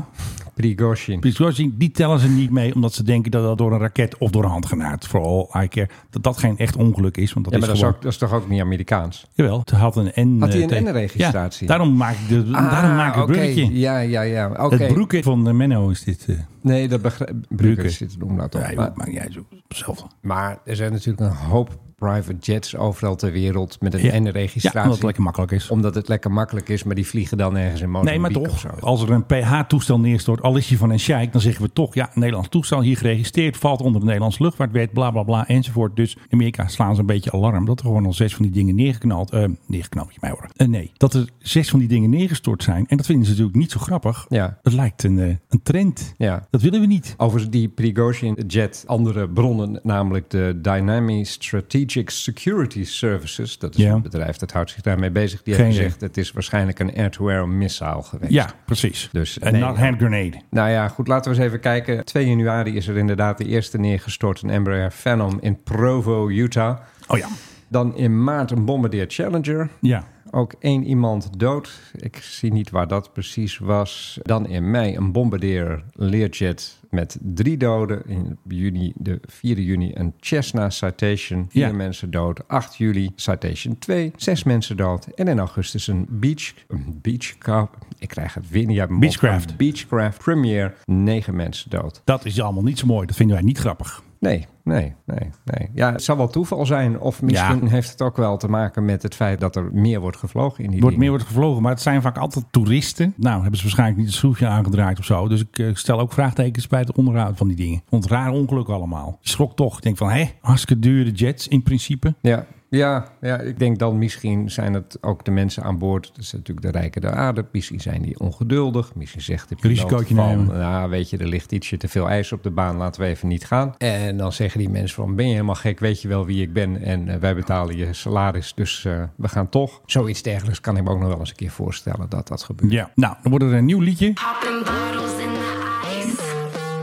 [SPEAKER 7] Prigozhin.
[SPEAKER 6] Prigozhin, die tellen ze niet mee, omdat ze denken dat dat door een raket of door een handgranaat, vooral I care, dat dat geen echt ongeluk is. Want dat
[SPEAKER 7] Ja,
[SPEAKER 6] is
[SPEAKER 7] maar dat is,
[SPEAKER 6] gewoon...
[SPEAKER 7] ook, dat is toch ook niet Amerikaans?
[SPEAKER 6] Jawel, het had een N.
[SPEAKER 7] Had hij een
[SPEAKER 6] eh, teken.
[SPEAKER 7] N-registratie?
[SPEAKER 6] Ja, daarom maak ik, de, daarom maak ik het
[SPEAKER 7] Ah, oké.
[SPEAKER 6] bruggetje.
[SPEAKER 7] Ja, ja, ja. Oké.
[SPEAKER 6] Het broekje van eh, Menno is dit. eh.
[SPEAKER 7] Nee, dat begrijp
[SPEAKER 6] Bruken.
[SPEAKER 7] ik. zit een omlaag op.
[SPEAKER 6] Ja,
[SPEAKER 7] maar,
[SPEAKER 6] joh, maar jij zo zelf.
[SPEAKER 7] maar er zijn natuurlijk een hoop private jets overal ter wereld met een
[SPEAKER 6] Ja.
[SPEAKER 7] N-registratie.
[SPEAKER 6] Ja, omdat het lekker makkelijk is.
[SPEAKER 7] Omdat het lekker makkelijk is, maar die vliegen dan ergens in
[SPEAKER 6] Nee,
[SPEAKER 7] Mozambique
[SPEAKER 6] maar
[SPEAKER 7] of zo.
[SPEAKER 6] toch, als er een PH-toestel neerstort, al is je van een sheik, dan zeggen we toch, ja, een Nederlands toestel hier geregistreerd, valt onder de Nederlandse luchtvaartwet, bla bla bla, enzovoort. Dus in Amerika slaan ze een beetje alarm dat er gewoon al zes van die dingen neergeknald, eh neergeknald moet je mij horen. Eh, nee, dat er zes van die dingen neergestort zijn. En dat vinden ze natuurlijk niet zo grappig.
[SPEAKER 7] Ja.
[SPEAKER 6] Het lijkt een, eh, een trend.
[SPEAKER 7] Ja.
[SPEAKER 6] Dat willen we niet.
[SPEAKER 7] Over die Prigozhin Jet, andere bronnen, namelijk de Dynamic Strategic Security Services. Dat is
[SPEAKER 6] Ja.
[SPEAKER 7] een bedrijf dat houdt zich daarmee bezig. Die
[SPEAKER 6] Geen
[SPEAKER 7] heeft
[SPEAKER 6] idee.
[SPEAKER 7] gezegd, het is waarschijnlijk een air-to-air missile geweest.
[SPEAKER 6] Ja, precies.
[SPEAKER 7] Dus,
[SPEAKER 6] Een
[SPEAKER 7] nee.
[SPEAKER 6] not hand grenade.
[SPEAKER 7] Nou ja, goed, laten we eens even kijken. 2 januari is er inderdaad de eerste neergestort, een Embraer Phenom in Provo, Utah.
[SPEAKER 6] Oh ja.
[SPEAKER 7] Dan in maart een Bombardier Challenger.
[SPEAKER 6] Ja.
[SPEAKER 7] Ook één iemand dood. Ik zie niet waar dat precies was. Dan in mei een bombardeer Learjet met drie doden. In juni, de 4 juni, een Cessna Citation. Vier
[SPEAKER 6] Ja.
[SPEAKER 7] mensen dood. 8 juli, Citation 2. Zes mensen dood. En in augustus een Beach... Een beachcraft. Ik krijg het weer niet uit mijn mond.
[SPEAKER 6] Beechcraft.
[SPEAKER 7] Beechcraft Premier. Negen mensen dood.
[SPEAKER 6] Dat is allemaal niet zo mooi. Dat vinden wij niet grappig.
[SPEAKER 7] Nee, nee, nee, nee. Ja, het zal wel toeval zijn. Of misschien
[SPEAKER 6] Ja.
[SPEAKER 7] heeft het ook wel te maken met het feit dat er meer wordt gevlogen in die
[SPEAKER 6] wordt meer
[SPEAKER 7] dingen.
[SPEAKER 6] wordt gevlogen, maar het zijn vaak altijd toeristen. Nou, hebben ze waarschijnlijk niet het schroefje aangedraaid of zo. Dus ik eh, stel ook vraagtekens bij het onderhoud van die dingen. Want raar ongeluk allemaal. Je schrok toch. Ik denk van, hé, hartstikke dure jets in principe.
[SPEAKER 7] Ja, ja, ja, ik denk dan misschien zijn het ook de mensen aan boord. Dat zijn natuurlijk de rijken der aarde. Misschien zijn die ongeduldig. Misschien zegt de piloot
[SPEAKER 6] Risicootje
[SPEAKER 7] van...
[SPEAKER 6] nemen.
[SPEAKER 7] Nou, weet je, er ligt ietsje te veel ijs op de baan. Laten we even niet gaan. En dan zeggen die mensen van... Ben je helemaal gek? Weet je wel wie ik ben? En eh, wij betalen je salaris, dus eh, we gaan toch. Zoiets dergelijks kan ik me ook nog wel eens een keer voorstellen dat dat gebeurt.
[SPEAKER 6] Ja. Nou, dan wordt er een nieuw liedje.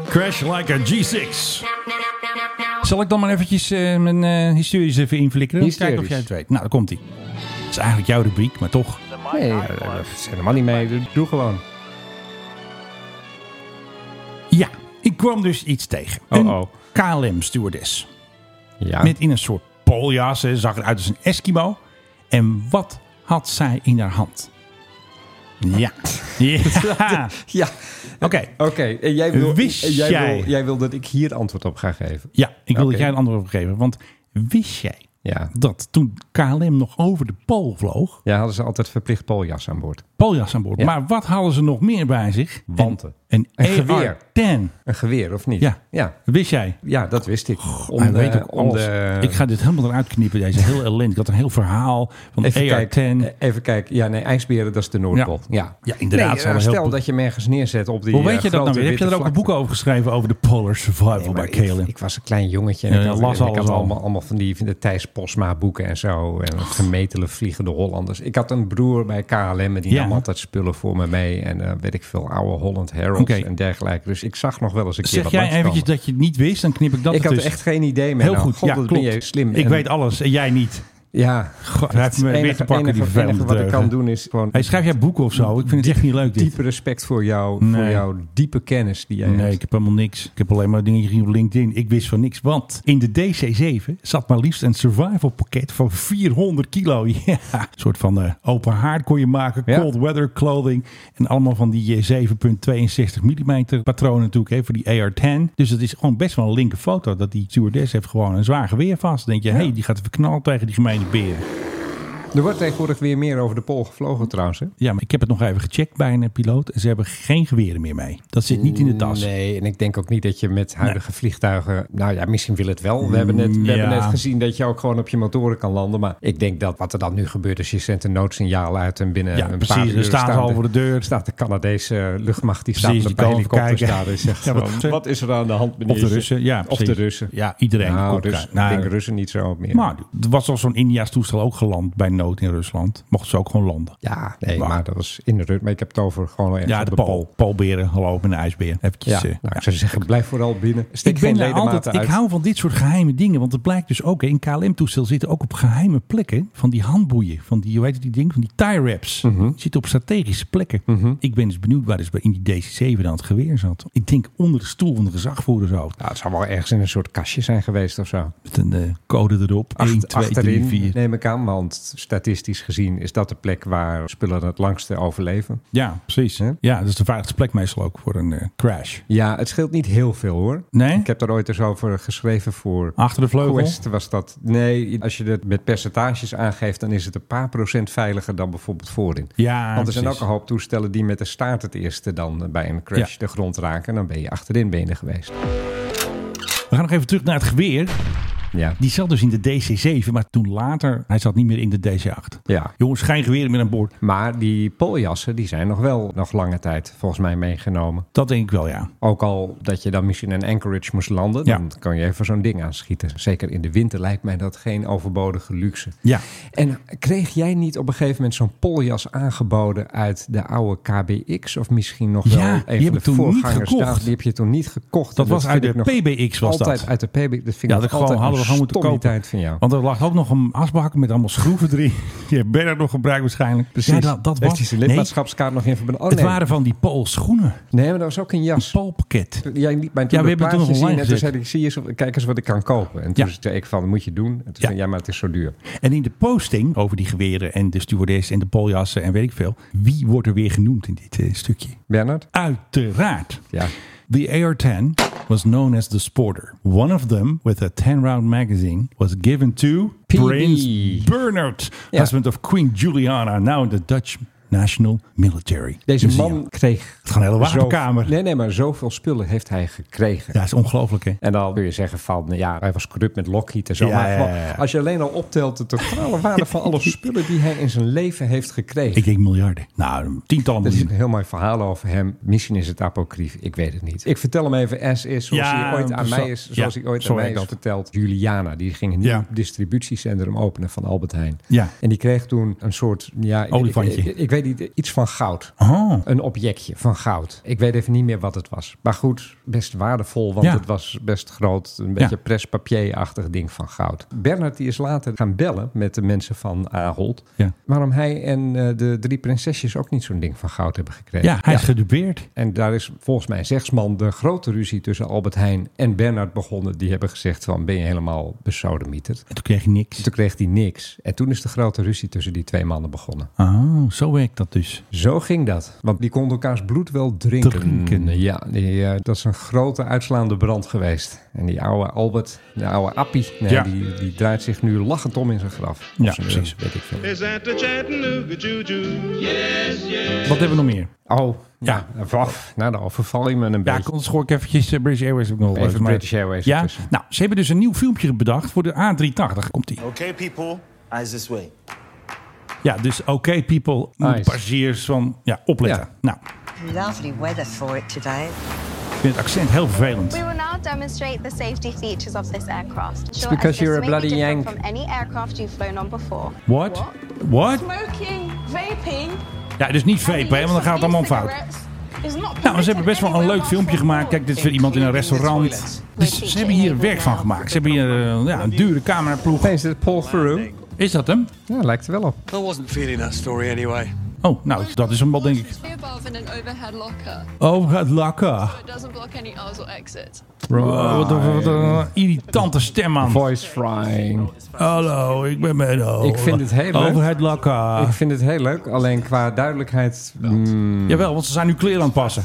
[SPEAKER 6] Crash like a G6. Zal ik dan maar eventjes eh, mijn eh historisch even inflikkeren?
[SPEAKER 7] Hysterisch.
[SPEAKER 6] Kijken of jij het weet. Nou, daar komt hij. Het is eigenlijk jouw rubriek, maar toch.
[SPEAKER 7] Nee, eh, dat is helemaal niet mee. Doe gewoon.
[SPEAKER 6] Ja, ik kwam dus iets tegen.
[SPEAKER 7] Oh,
[SPEAKER 6] een
[SPEAKER 7] oh.
[SPEAKER 6] KLM-stewardess.
[SPEAKER 7] Ja.
[SPEAKER 6] Met in een soort poljas. Ze zag eruit als een Eskimo. En wat had zij in haar hand?
[SPEAKER 7] (laughs)
[SPEAKER 6] Ja. ja.
[SPEAKER 7] Ja,
[SPEAKER 6] Oké.
[SPEAKER 7] oké. En jij wil,
[SPEAKER 6] Wist
[SPEAKER 7] en jij,
[SPEAKER 6] jij-
[SPEAKER 7] Wil, jij wil dat ik hier antwoord op ga geven.
[SPEAKER 6] Ja, ik wil dat
[SPEAKER 7] Oké.
[SPEAKER 6] jij een antwoord op geeft. Want wist jij
[SPEAKER 7] Ja.
[SPEAKER 6] dat toen KLM nog over de Pool vloog,
[SPEAKER 7] Ja, hadden ze altijd verplicht poljas aan boord.
[SPEAKER 6] poljas aan boord.
[SPEAKER 7] Ja.
[SPEAKER 6] Maar wat hadden ze nog meer bij zich?
[SPEAKER 7] Wanten.
[SPEAKER 6] Een,
[SPEAKER 7] Een
[SPEAKER 6] een
[SPEAKER 7] geweer.
[SPEAKER 6] AR-10.
[SPEAKER 7] Een geweer, of niet?
[SPEAKER 6] Ja.
[SPEAKER 7] Ja,
[SPEAKER 6] Wist jij?
[SPEAKER 7] ja dat wist ik. Om
[SPEAKER 6] Hij
[SPEAKER 7] de-
[SPEAKER 6] weet ook
[SPEAKER 7] om
[SPEAKER 6] alles.
[SPEAKER 7] de-
[SPEAKER 6] Ik ga dit helemaal eruit knippen. Deze heel ellendig. Ik had een heel verhaal van de
[SPEAKER 7] Even
[SPEAKER 6] AR-10.
[SPEAKER 7] kijken. Even kijken. Ja, nee, ijsberen, dat is de Noordpool.
[SPEAKER 6] Ja.
[SPEAKER 7] Ja,
[SPEAKER 6] Ja, inderdaad,
[SPEAKER 7] Nee,
[SPEAKER 6] ze hadden
[SPEAKER 7] eh,
[SPEAKER 6] heel
[SPEAKER 7] stel
[SPEAKER 6] goed-
[SPEAKER 7] dat je hem ergens neerzet op die
[SPEAKER 6] Hoe
[SPEAKER 7] eh,
[SPEAKER 6] weet je dat nou
[SPEAKER 7] grote
[SPEAKER 6] weer? Heb je
[SPEAKER 7] witte
[SPEAKER 6] er ook een
[SPEAKER 7] vlakte.
[SPEAKER 6] boek over geschreven over de Polar Survival
[SPEAKER 7] Nee,
[SPEAKER 6] bij
[SPEAKER 7] maar
[SPEAKER 6] KLM?
[SPEAKER 7] ik, ik was een klein jongetje en
[SPEAKER 6] Ja,
[SPEAKER 7] ik
[SPEAKER 6] je
[SPEAKER 7] had,
[SPEAKER 6] las
[SPEAKER 7] en ik
[SPEAKER 6] alles
[SPEAKER 7] had
[SPEAKER 6] al.
[SPEAKER 7] allemaal, allemaal van die, van de Thijs Posma boeken en zo. En vermetele vliegende Hollanders. Ik had een broer bij KLM en die
[SPEAKER 6] Ja.
[SPEAKER 7] nam altijd spullen voor me mee. En eh, weet ik veel, oude Holland Heralds
[SPEAKER 6] Oké.
[SPEAKER 7] en dergelijke. Dus ik zag nog wel eens een keer
[SPEAKER 6] Zeg
[SPEAKER 7] wat
[SPEAKER 6] jij
[SPEAKER 7] langskomen.
[SPEAKER 6] eventjes dat je het niet wist, dan knip ik dat
[SPEAKER 7] Ik had er
[SPEAKER 6] ertussen.
[SPEAKER 7] echt geen idee meer.
[SPEAKER 6] dus Heel goed,
[SPEAKER 7] God,
[SPEAKER 6] ja,
[SPEAKER 7] wat
[SPEAKER 6] klopt.
[SPEAKER 7] ben je slim.
[SPEAKER 6] Ik
[SPEAKER 7] En-
[SPEAKER 6] weet alles en jij niet.
[SPEAKER 7] Ja,
[SPEAKER 6] hij heeft
[SPEAKER 7] het
[SPEAKER 6] me weer
[SPEAKER 7] enige-
[SPEAKER 6] te pakken, die
[SPEAKER 7] enige-
[SPEAKER 6] vervelende
[SPEAKER 7] enige wat ik
[SPEAKER 6] dreugen.
[SPEAKER 7] kan doen is gewoon
[SPEAKER 6] Hey, schrijf jij boeken of zo? Ik vind het echt niet leuk dit.
[SPEAKER 7] diepe respect voor, jou, voor
[SPEAKER 6] Nee.
[SPEAKER 7] jouw diepe kennis die jij
[SPEAKER 6] Nee,
[SPEAKER 7] hebt.
[SPEAKER 6] ik heb helemaal niks. Ik heb alleen maar dingen gezien op LinkedIn. Ik wist van niks. Want in de DC-7 zat maar liefst een survival pakket van 400 kilo. (laughs) Ja, een soort van eh, open haard kon je maken.
[SPEAKER 7] Ja.
[SPEAKER 6] Cold weather clothing. En allemaal van die eh, 7.62 mm patronen natuurlijk. Hè, voor die AR-10. Dus dat is gewoon best wel een linker foto. Dat die stewardess heeft gewoon een zwaar geweer vast. Dan denk je, hé, hey, die gaat verknald tegen die gemene beren.
[SPEAKER 7] Er wordt tegenwoordig weer meer over de pool gevlogen trouwens. Hè?
[SPEAKER 6] Ja, maar ik heb het nog even gecheckt bij een eh, piloot. En ze hebben geen geweren meer mee. Dat zit niet in de tas.
[SPEAKER 7] Nee, en ik denk ook niet dat je met huidige vliegtuigen... Nou ja, misschien wil het wel. We, hebben net, we hebben
[SPEAKER 6] ja.
[SPEAKER 7] net gezien dat je ook gewoon op je motoren kan landen. Maar ik denk dat wat er dan nu gebeurt is... je zendt een noodsignaal uit en binnen
[SPEAKER 6] Ja,
[SPEAKER 7] een
[SPEAKER 6] precies.
[SPEAKER 7] paar
[SPEAKER 6] Dan
[SPEAKER 7] uur...
[SPEAKER 6] staan ze al voor de deur.
[SPEAKER 7] Staat de Canadese eh, luchtmacht, die
[SPEAKER 6] Precies,
[SPEAKER 7] staat
[SPEAKER 6] die
[SPEAKER 7] met een
[SPEAKER 6] komen kijken.
[SPEAKER 7] helikopter staan en zegt
[SPEAKER 6] Ja, maar-
[SPEAKER 7] van, wat is er aan de hand, meneer?
[SPEAKER 6] Of de Russen, ja.
[SPEAKER 7] Of de
[SPEAKER 6] precies.
[SPEAKER 7] Russen.
[SPEAKER 6] Ja, iedereen.
[SPEAKER 7] Nou,
[SPEAKER 6] komt
[SPEAKER 7] dus,
[SPEAKER 6] kijken. Nou,
[SPEAKER 7] ik denk Russen niet zo meer.
[SPEAKER 6] Maar er was al zo'n India's toestel ook geland bij nood in Rusland. Mochten ze ook gewoon landen.
[SPEAKER 7] Ja, nee, maar, dat was in de rut. Maar ik heb het over gewoon ergens
[SPEAKER 6] Ja,
[SPEAKER 7] op
[SPEAKER 6] de Paul. Paul Beren, hallo, ik ben de ijsbeer. Eventjes,
[SPEAKER 7] Ja,
[SPEAKER 6] eh,
[SPEAKER 7] nou,
[SPEAKER 6] ja.
[SPEAKER 7] ik zou zeggen, blijf vooral binnen. Steek
[SPEAKER 6] Ik, ben
[SPEAKER 7] geen
[SPEAKER 6] daar
[SPEAKER 7] ledematen
[SPEAKER 6] altijd,
[SPEAKER 7] uit.
[SPEAKER 6] ik hou van dit soort geheime dingen. Want het blijkt dus ook, hè, in KLM-toestel zitten ook op geheime plekken van die handboeien. Van die, hoe heet het, die ding? Van die tie wraps.
[SPEAKER 7] Mhm.
[SPEAKER 6] Zitten op strategische plekken. Ik ben dus benieuwd waar dus bij- in die DC-7 dan het geweer zat. Ik denk onder de stoel van de gezagvoerder zo.
[SPEAKER 7] Ja, het zou wel ergens in een soort kastje zijn geweest of zo.
[SPEAKER 6] Met een eh, code erop. 1, 2, 3,
[SPEAKER 7] achterin
[SPEAKER 6] 4.
[SPEAKER 7] neem ik aan, want statistisch gezien is dat de plek waar spullen het langste overleven.
[SPEAKER 6] Ja, precies.
[SPEAKER 7] Hè?
[SPEAKER 6] Ja, dat is de veiligste plek meestal ook voor een eh, crash.
[SPEAKER 7] Ja, het scheelt niet heel veel hoor.
[SPEAKER 6] Nee?
[SPEAKER 7] Ik heb daar ooit eens over geschreven voor
[SPEAKER 6] Achter de vleugel.
[SPEAKER 7] Quest was dat. Nee, als je het met percentages aangeeft, dan is het een paar procent veiliger dan bijvoorbeeld voorin.
[SPEAKER 6] Ja,
[SPEAKER 7] Want er zijn ook
[SPEAKER 6] precies.
[SPEAKER 7] een hoop toestellen die met de staart het eerste dan bij een crash
[SPEAKER 6] Ja.
[SPEAKER 7] de grond raken. Dan ben je achterin ben je er geweest.
[SPEAKER 6] We gaan nog even terug naar het geweer.
[SPEAKER 7] Ja.
[SPEAKER 6] Die zat dus in de DC-7, maar toen later, hij zat niet meer in de DC-8.
[SPEAKER 7] Ja.
[SPEAKER 6] Jongens, geen geweren meer aan boord.
[SPEAKER 7] Maar die poljassen die zijn nog wel nog lange tijd volgens mij meegenomen.
[SPEAKER 6] Dat denk ik wel, ja.
[SPEAKER 7] Ook al dat je dan misschien in Anchorage moest landen,
[SPEAKER 6] Ja.
[SPEAKER 7] dan kan je even zo'n ding aanschieten. Zeker in de winter lijkt mij dat geen overbodige luxe.
[SPEAKER 6] Ja.
[SPEAKER 7] En kreeg jij niet op een gegeven moment zo'n poljas aangeboden uit de oude KBX? Of misschien nog wel
[SPEAKER 6] Ja, die heb
[SPEAKER 7] een van de
[SPEAKER 6] ik toen niet
[SPEAKER 7] voorgangers?
[SPEAKER 6] gekocht.
[SPEAKER 7] daar? die heb je toen niet gekocht.
[SPEAKER 6] Dat
[SPEAKER 7] En
[SPEAKER 6] was
[SPEAKER 7] vind
[SPEAKER 6] uit de
[SPEAKER 7] ik nog
[SPEAKER 6] PBX was
[SPEAKER 7] altijd
[SPEAKER 6] dat.
[SPEAKER 7] uit de PBX. Dat vind
[SPEAKER 6] Ja,
[SPEAKER 7] ik
[SPEAKER 6] dat
[SPEAKER 7] altijd
[SPEAKER 6] gewoon, hadden we
[SPEAKER 7] een
[SPEAKER 6] gewoon moeten kopen.
[SPEAKER 7] stommiteit van jou.
[SPEAKER 6] Want er lag ook nog een asbak met allemaal schroeven erin. (laughs) Die heeft Bernard nog gebruikt waarschijnlijk. Ja, dat, dat
[SPEAKER 7] Heeft hij
[SPEAKER 6] was...
[SPEAKER 7] zijn
[SPEAKER 6] Nee,
[SPEAKER 7] lidmaatschapskaart nog in verband? Oh,
[SPEAKER 6] het
[SPEAKER 7] nee.
[SPEAKER 6] waren van die Paul schoenen.
[SPEAKER 7] nee, maar dat was ook een jas.
[SPEAKER 6] Palpakket.
[SPEAKER 7] Jij liet mij toen
[SPEAKER 6] Ja, we hebben
[SPEAKER 7] dat
[SPEAKER 6] het toen nog
[SPEAKER 7] plaatje zien.
[SPEAKER 6] online
[SPEAKER 7] En toen
[SPEAKER 6] gezet.
[SPEAKER 7] zei ik, zie eens, of- kijk eens wat ik kan kopen. En toen
[SPEAKER 6] Ja.
[SPEAKER 7] zei ik van, dat moet je doen. En toen
[SPEAKER 6] Ja.
[SPEAKER 7] zei ja, maar het is zo duur.
[SPEAKER 6] En in de posting over die geweren en de stewardess en de poljassen en weet ik veel. Wie wordt er weer genoemd in dit eh, stukje?
[SPEAKER 7] Bernard?
[SPEAKER 6] Uiteraard.
[SPEAKER 7] Ja.
[SPEAKER 6] The AR-10 was known as the Sporter. One of them, with a 10-round magazine, was given to
[SPEAKER 7] PB.
[SPEAKER 6] Prince Bernard,
[SPEAKER 7] Ja.
[SPEAKER 6] husband of Queen Juliana, now in the Dutch National Military.
[SPEAKER 7] Deze
[SPEAKER 6] Museum.
[SPEAKER 7] man kreeg...
[SPEAKER 6] Het gaat een hele wapenkamer.
[SPEAKER 7] zoveel- Nee, nee, maar zoveel spullen heeft hij gekregen.
[SPEAKER 6] Ja, dat is ongelooflijk, hè?
[SPEAKER 7] En dan kun je zeggen van, ja, hij was corrupt met Lockheed en zo.
[SPEAKER 6] Ja,
[SPEAKER 7] maar
[SPEAKER 6] ja,
[SPEAKER 7] gewoon,
[SPEAKER 6] ja, ja.
[SPEAKER 7] als je alleen al optelt de totale waarde van
[SPEAKER 6] (laughs)
[SPEAKER 7] alle spullen die hij in zijn leven heeft gekregen.
[SPEAKER 6] Ik denk miljarden. Nou, tientallen
[SPEAKER 7] er is een
[SPEAKER 6] miljoenen.
[SPEAKER 7] heel mooi verhaal over hem. Misschien is het apocrief, ik weet het niet. Ik vertel hem even as is, zoals
[SPEAKER 6] Ja,
[SPEAKER 7] hij ooit aan
[SPEAKER 6] zo-
[SPEAKER 7] mij is,
[SPEAKER 6] ja,
[SPEAKER 7] zoals hij ooit
[SPEAKER 6] zo
[SPEAKER 7] aan mij
[SPEAKER 6] werkt
[SPEAKER 7] is
[SPEAKER 6] dat.
[SPEAKER 7] verteld. Juliana, die ging een nieuw
[SPEAKER 6] Ja.
[SPEAKER 7] distributiecentrum openen van Albert Heijn.
[SPEAKER 6] Ja.
[SPEAKER 7] En die kreeg toen een soort, ja, ik-
[SPEAKER 6] Olifantje.
[SPEAKER 7] Ik, ik, ik weet niet, iets van goud.
[SPEAKER 6] Oh.
[SPEAKER 7] Een objectje van goud. Ik weet even niet meer wat het was. Maar goed, best waardevol, want
[SPEAKER 6] Ja.
[SPEAKER 7] het was best groot. Een beetje prespapierachtig ding van goud. Bernard die is later gaan bellen met de mensen van Ahold.
[SPEAKER 6] Ja.
[SPEAKER 7] Waarom hij en eh, de drie prinsesjes ook niet zo'n ding van goud hebben gekregen.
[SPEAKER 6] Ja, hij is gedupeerd.
[SPEAKER 7] En daar is volgens mij zegsman de grote ruzie tussen Albert Heijn en Bernard begonnen. Die hebben gezegd van ben je helemaal besodemieterd.
[SPEAKER 6] En toen kreeg hij niks.
[SPEAKER 7] Toen kreeg hij niks. En toen is de grote ruzie tussen die twee mannen begonnen.
[SPEAKER 6] Oh, zo werkt dat dus.
[SPEAKER 7] Zo ging dat. Want die kon elkaars bloed wel drinken.
[SPEAKER 6] Drinken.
[SPEAKER 7] Ja, die, eh, dat is een grote uitslaande brand geweest. En die oude Albert, de oude Appie, nee,
[SPEAKER 6] Ja.
[SPEAKER 7] die, die draait zich nu lachend om in zijn graf.
[SPEAKER 6] Ja,
[SPEAKER 7] Of zijn, eh,
[SPEAKER 6] precies.
[SPEAKER 7] Weet ik veel.
[SPEAKER 1] Is that the Chattanooga Juju?
[SPEAKER 6] Wat hebben we nog meer?
[SPEAKER 7] Oh,
[SPEAKER 6] Ja.
[SPEAKER 7] ja. Waf, nou, dan overval je me een
[SPEAKER 6] Ja,
[SPEAKER 7] beetje.
[SPEAKER 6] ik kon schoor ik eventjes eh, British Airways ook nog wel
[SPEAKER 7] Even
[SPEAKER 6] even, maar-
[SPEAKER 7] British Airways
[SPEAKER 6] Ja,
[SPEAKER 7] ertussen.
[SPEAKER 6] nou, ze hebben dus een nieuw filmpje bedacht voor de A380. Komt die?
[SPEAKER 7] Oh.
[SPEAKER 11] Okay, people, eyes this way.
[SPEAKER 6] Ja, dus oké, people, moeten
[SPEAKER 7] Nice.
[SPEAKER 6] passagiers van ja, opletten.
[SPEAKER 7] Ja.
[SPEAKER 6] Nou,
[SPEAKER 11] Lovely weather for it today.
[SPEAKER 6] ik vind het accent heel vervelend.
[SPEAKER 11] We will now demonstrate the safety features of this aircraft. It's
[SPEAKER 7] because you're a bloody Yank.
[SPEAKER 11] From any aircraft you've flown on before.
[SPEAKER 6] What? What?
[SPEAKER 11] Smoking, vaping.
[SPEAKER 6] Ja, dus niet vape, hè, want dan gaat het allemaal fout. Nou, ze hebben best wel een leuk filmpje gemaakt. Kijk, dit is weer iemand in een restaurant. Dus ze hebben hier werk van gemaakt. Ze hebben hier eh, ja, een dure cameraploeg.
[SPEAKER 7] Hey, is dit Paul Theroux?
[SPEAKER 6] Is dat hem?
[SPEAKER 7] Ja, lijkt er wel op.
[SPEAKER 12] I wasn't feeling that story anyway.
[SPEAKER 6] Oh, nou, dat is hem wel, denk ik.
[SPEAKER 11] above in an overhead locker.
[SPEAKER 6] Oh, het lakker.
[SPEAKER 11] It doesn't block any aisles or exits.
[SPEAKER 6] Oh, wat een- wat een irritante stem, man.
[SPEAKER 7] Voice frying.
[SPEAKER 6] Hallo, ik ben Menno.
[SPEAKER 7] Ik vind het heel leuk.
[SPEAKER 6] Over het lakker.
[SPEAKER 7] Ik vind het heel leuk, alleen qua duidelijkheid... mm,
[SPEAKER 6] Jawel, want ze zijn nu kleren aan het passen.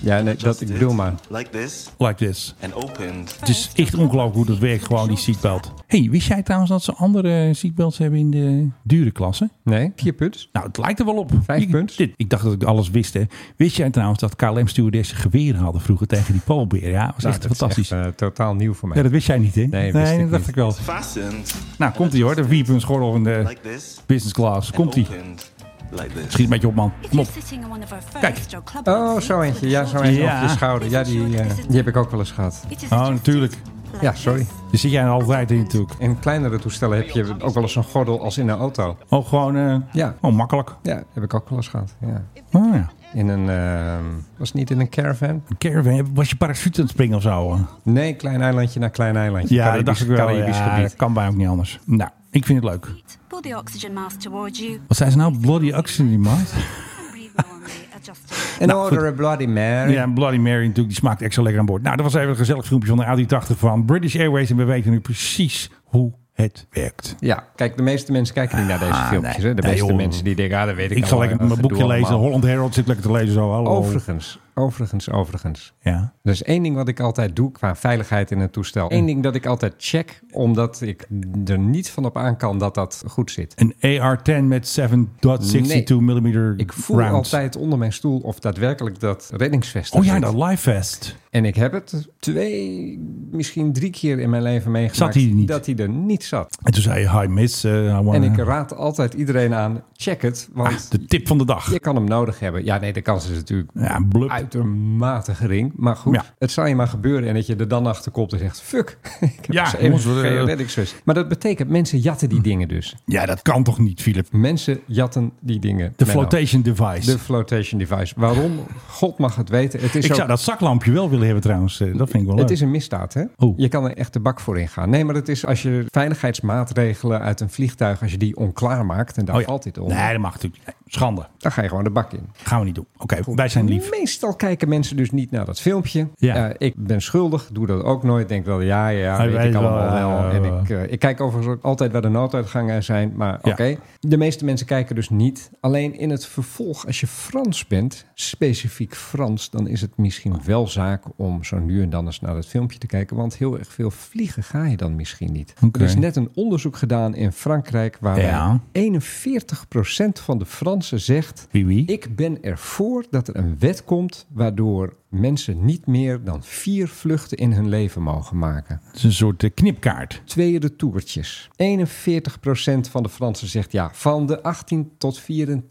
[SPEAKER 7] ja, nee, dat ik bedoel maar.
[SPEAKER 12] Like this
[SPEAKER 6] Like this.
[SPEAKER 12] and opened.
[SPEAKER 6] Het is echt ongelooflijk hoe dat werkt, gewoon die seatbelt. hey, wist jij trouwens dat ze andere eh, seatbelts hebben in de dure klasse?
[SPEAKER 7] Nee, vier punts.
[SPEAKER 6] Nou, het lijkt er wel op.
[SPEAKER 7] Vijf
[SPEAKER 6] ik,
[SPEAKER 7] punt.
[SPEAKER 6] Dit, ik dacht dat ik alles wist, hè. Wist jij trouwens dat KLM-stewardessen geweren hadden vroeger tegen die Poolbeer? Ja, dat was echt
[SPEAKER 7] Nou, dat is
[SPEAKER 6] fantastisch.
[SPEAKER 7] echt, eh, totaal nieuw voor mij.
[SPEAKER 6] ja, dat wist jij niet, hè?
[SPEAKER 7] Nee, wist ik
[SPEAKER 6] dat dacht
[SPEAKER 7] niet.
[SPEAKER 6] ik wel.
[SPEAKER 12] Fastened
[SPEAKER 6] Nou, komt ie hoor. De vierpunt schorrel in de
[SPEAKER 12] like this
[SPEAKER 6] business class.
[SPEAKER 12] and
[SPEAKER 6] Komt ie.
[SPEAKER 12] opened like this.
[SPEAKER 6] Schiet met je op, man. Kom op. Kijk.
[SPEAKER 7] Oh, zo eentje. Ja, zo eentje
[SPEAKER 6] Ja.
[SPEAKER 7] op je schouder. Ja, die, eh, die heb ik ook wel eens gehad.
[SPEAKER 6] Oh, natuurlijk.
[SPEAKER 7] Ja, sorry.
[SPEAKER 6] Dus zit jij altijd in natuurlijk.
[SPEAKER 7] In kleinere toestellen heb je ook wel eens een gordel als in een auto.
[SPEAKER 6] Oh, gewoon... eh,
[SPEAKER 7] Ja.
[SPEAKER 6] Oh, makkelijk.
[SPEAKER 7] Ja, heb ik ook wel eens gehad. Ja.
[SPEAKER 6] Oh ja.
[SPEAKER 7] In een, ehm, was het niet in een caravan?
[SPEAKER 6] Een caravan. Was je parachute aan het springen of zo? hè?
[SPEAKER 7] Nee, klein eilandje naar klein eilandje.
[SPEAKER 6] Ja, dat
[SPEAKER 7] Caribisch-
[SPEAKER 6] dacht ik wel.
[SPEAKER 7] Caribisch
[SPEAKER 6] Ja,
[SPEAKER 7] gebied.
[SPEAKER 6] dat kan bij ook niet anders. Nou, ik vind het leuk.
[SPEAKER 13] Pull the oxygen mask towards you
[SPEAKER 6] Wat zijn ze nou? Bloody actie, die maat.
[SPEAKER 13] and breathe normally, adjusting.
[SPEAKER 7] En
[SPEAKER 6] Nou,
[SPEAKER 7] order
[SPEAKER 6] goed.
[SPEAKER 7] a Bloody Mary.
[SPEAKER 6] Ja, en Bloody Mary natuurlijk, die smaakt extra lekker aan boord. Nou, dat was even een gezellig filmpje van de A380 van British Airways. En we weten nu precies hoe het werkt.
[SPEAKER 7] Ja, kijk, de meeste mensen kijken niet naar deze
[SPEAKER 6] Ah,
[SPEAKER 7] filmpjes.
[SPEAKER 6] nee.
[SPEAKER 7] hè. De
[SPEAKER 6] Nee,
[SPEAKER 7] meeste
[SPEAKER 6] joh.
[SPEAKER 7] mensen die denken, ah, dat weet ik
[SPEAKER 6] Ik, ga
[SPEAKER 7] al,
[SPEAKER 6] lekker
[SPEAKER 7] dat
[SPEAKER 6] mijn
[SPEAKER 7] gedoe
[SPEAKER 6] boekje lezen.
[SPEAKER 7] allemaal.
[SPEAKER 6] Holland Herald zit ik lekker te lezen zo. Hallo.
[SPEAKER 7] Overigens, overigens, overigens.
[SPEAKER 6] Ja.
[SPEAKER 7] Er is één ding wat ik altijd doe qua veiligheid in het toestel.
[SPEAKER 6] Mm.
[SPEAKER 7] Eén ding dat ik altijd check, omdat ik er niet van op aan kan dat dat goed zit.
[SPEAKER 6] Een AR-10 met 7.62 mm
[SPEAKER 7] Ik voel
[SPEAKER 6] rounds.
[SPEAKER 7] altijd onder mijn stoel of daadwerkelijk dat reddingsvest er
[SPEAKER 6] Oh ja,
[SPEAKER 7] zit.
[SPEAKER 6] dat live vest.
[SPEAKER 7] En ik heb het twee, misschien drie keer in mijn leven meegemaakt
[SPEAKER 6] Zat hij er niet?
[SPEAKER 7] dat hij er niet zat.
[SPEAKER 6] En toen zei je, hi miss. eh, I wanna-
[SPEAKER 7] En ik raad altijd iedereen aan, check het, want
[SPEAKER 6] Ah, de tip van de dag.
[SPEAKER 7] je kan hem nodig hebben. Ja, nee, de kans is natuurlijk
[SPEAKER 6] Ja, blub.
[SPEAKER 7] uitermate gering. Maar goed,
[SPEAKER 6] Ja.
[SPEAKER 7] het zal je maar gebeuren en dat je er dan achter komt en zegt, fuck, (laughs) ik heb
[SPEAKER 6] Ja,
[SPEAKER 7] dus
[SPEAKER 6] jongens,
[SPEAKER 7] even
[SPEAKER 6] we-
[SPEAKER 7] geen reddingsvest. Maar dat betekent, mensen jatten
[SPEAKER 6] Hm.
[SPEAKER 7] die dingen dus.
[SPEAKER 6] Ja, dat kan toch niet, Philip?
[SPEAKER 7] Mensen jatten die dingen.
[SPEAKER 6] De
[SPEAKER 7] Menno.
[SPEAKER 6] flotation device.
[SPEAKER 7] De flotation device. Waarom? God mag het weten. Het is
[SPEAKER 6] ik
[SPEAKER 7] ook-
[SPEAKER 6] zou dat zaklampje wel willen hebben trouwens. Eh, Dat vind ik wel leuk.
[SPEAKER 7] Het is een misdaad, hè?
[SPEAKER 6] Oh.
[SPEAKER 7] Je kan er echt de bak voor ingaan. Nee, maar het is als je veiligheidsmaatregelen uit een vliegtuig, als je die onklaar maakt, en daar
[SPEAKER 6] Oh ja.
[SPEAKER 7] valt dit onder,
[SPEAKER 6] Nee, dat mag natuurlijk. niet. Schande.
[SPEAKER 7] dan ga je gewoon de bak in.
[SPEAKER 6] Gaan we niet doen. Oké, wij zijn lief.
[SPEAKER 7] Meestal kijken mensen dus niet naar dat filmpje.
[SPEAKER 6] Ja.
[SPEAKER 7] Eh, ik ben schuldig, doe dat ook nooit. Denk wel, ja, ja,
[SPEAKER 6] Hij
[SPEAKER 7] weet
[SPEAKER 6] weet
[SPEAKER 7] ik
[SPEAKER 6] wel,
[SPEAKER 7] allemaal wel.
[SPEAKER 6] ja,
[SPEAKER 7] en
[SPEAKER 6] ja.
[SPEAKER 7] ik, eh, ik kijk overigens ook altijd waar de nooduitgangen zijn. Maar oké,
[SPEAKER 6] Ja.
[SPEAKER 7] de meeste mensen kijken dus niet. Alleen in het vervolg, als je Frans bent, specifiek Frans... dan is het misschien wel zaak om zo nu en dan eens naar dat filmpje te kijken. Want heel erg veel vliegen ga je dan misschien niet.
[SPEAKER 6] Oké.
[SPEAKER 7] Er is net een onderzoek gedaan in Frankrijk... waarbij
[SPEAKER 6] Ja.
[SPEAKER 7] 41% van de Fransen zegt...
[SPEAKER 6] Wie wie?
[SPEAKER 7] Ik ben ervoor dat er een wet komt waardoor mensen niet meer dan vier vluchten in hun leven mogen maken.
[SPEAKER 6] Het is een soort eh, knipkaart.
[SPEAKER 7] Tweede toertjes. 41% van de Fransen zegt ja. Van de 18 tot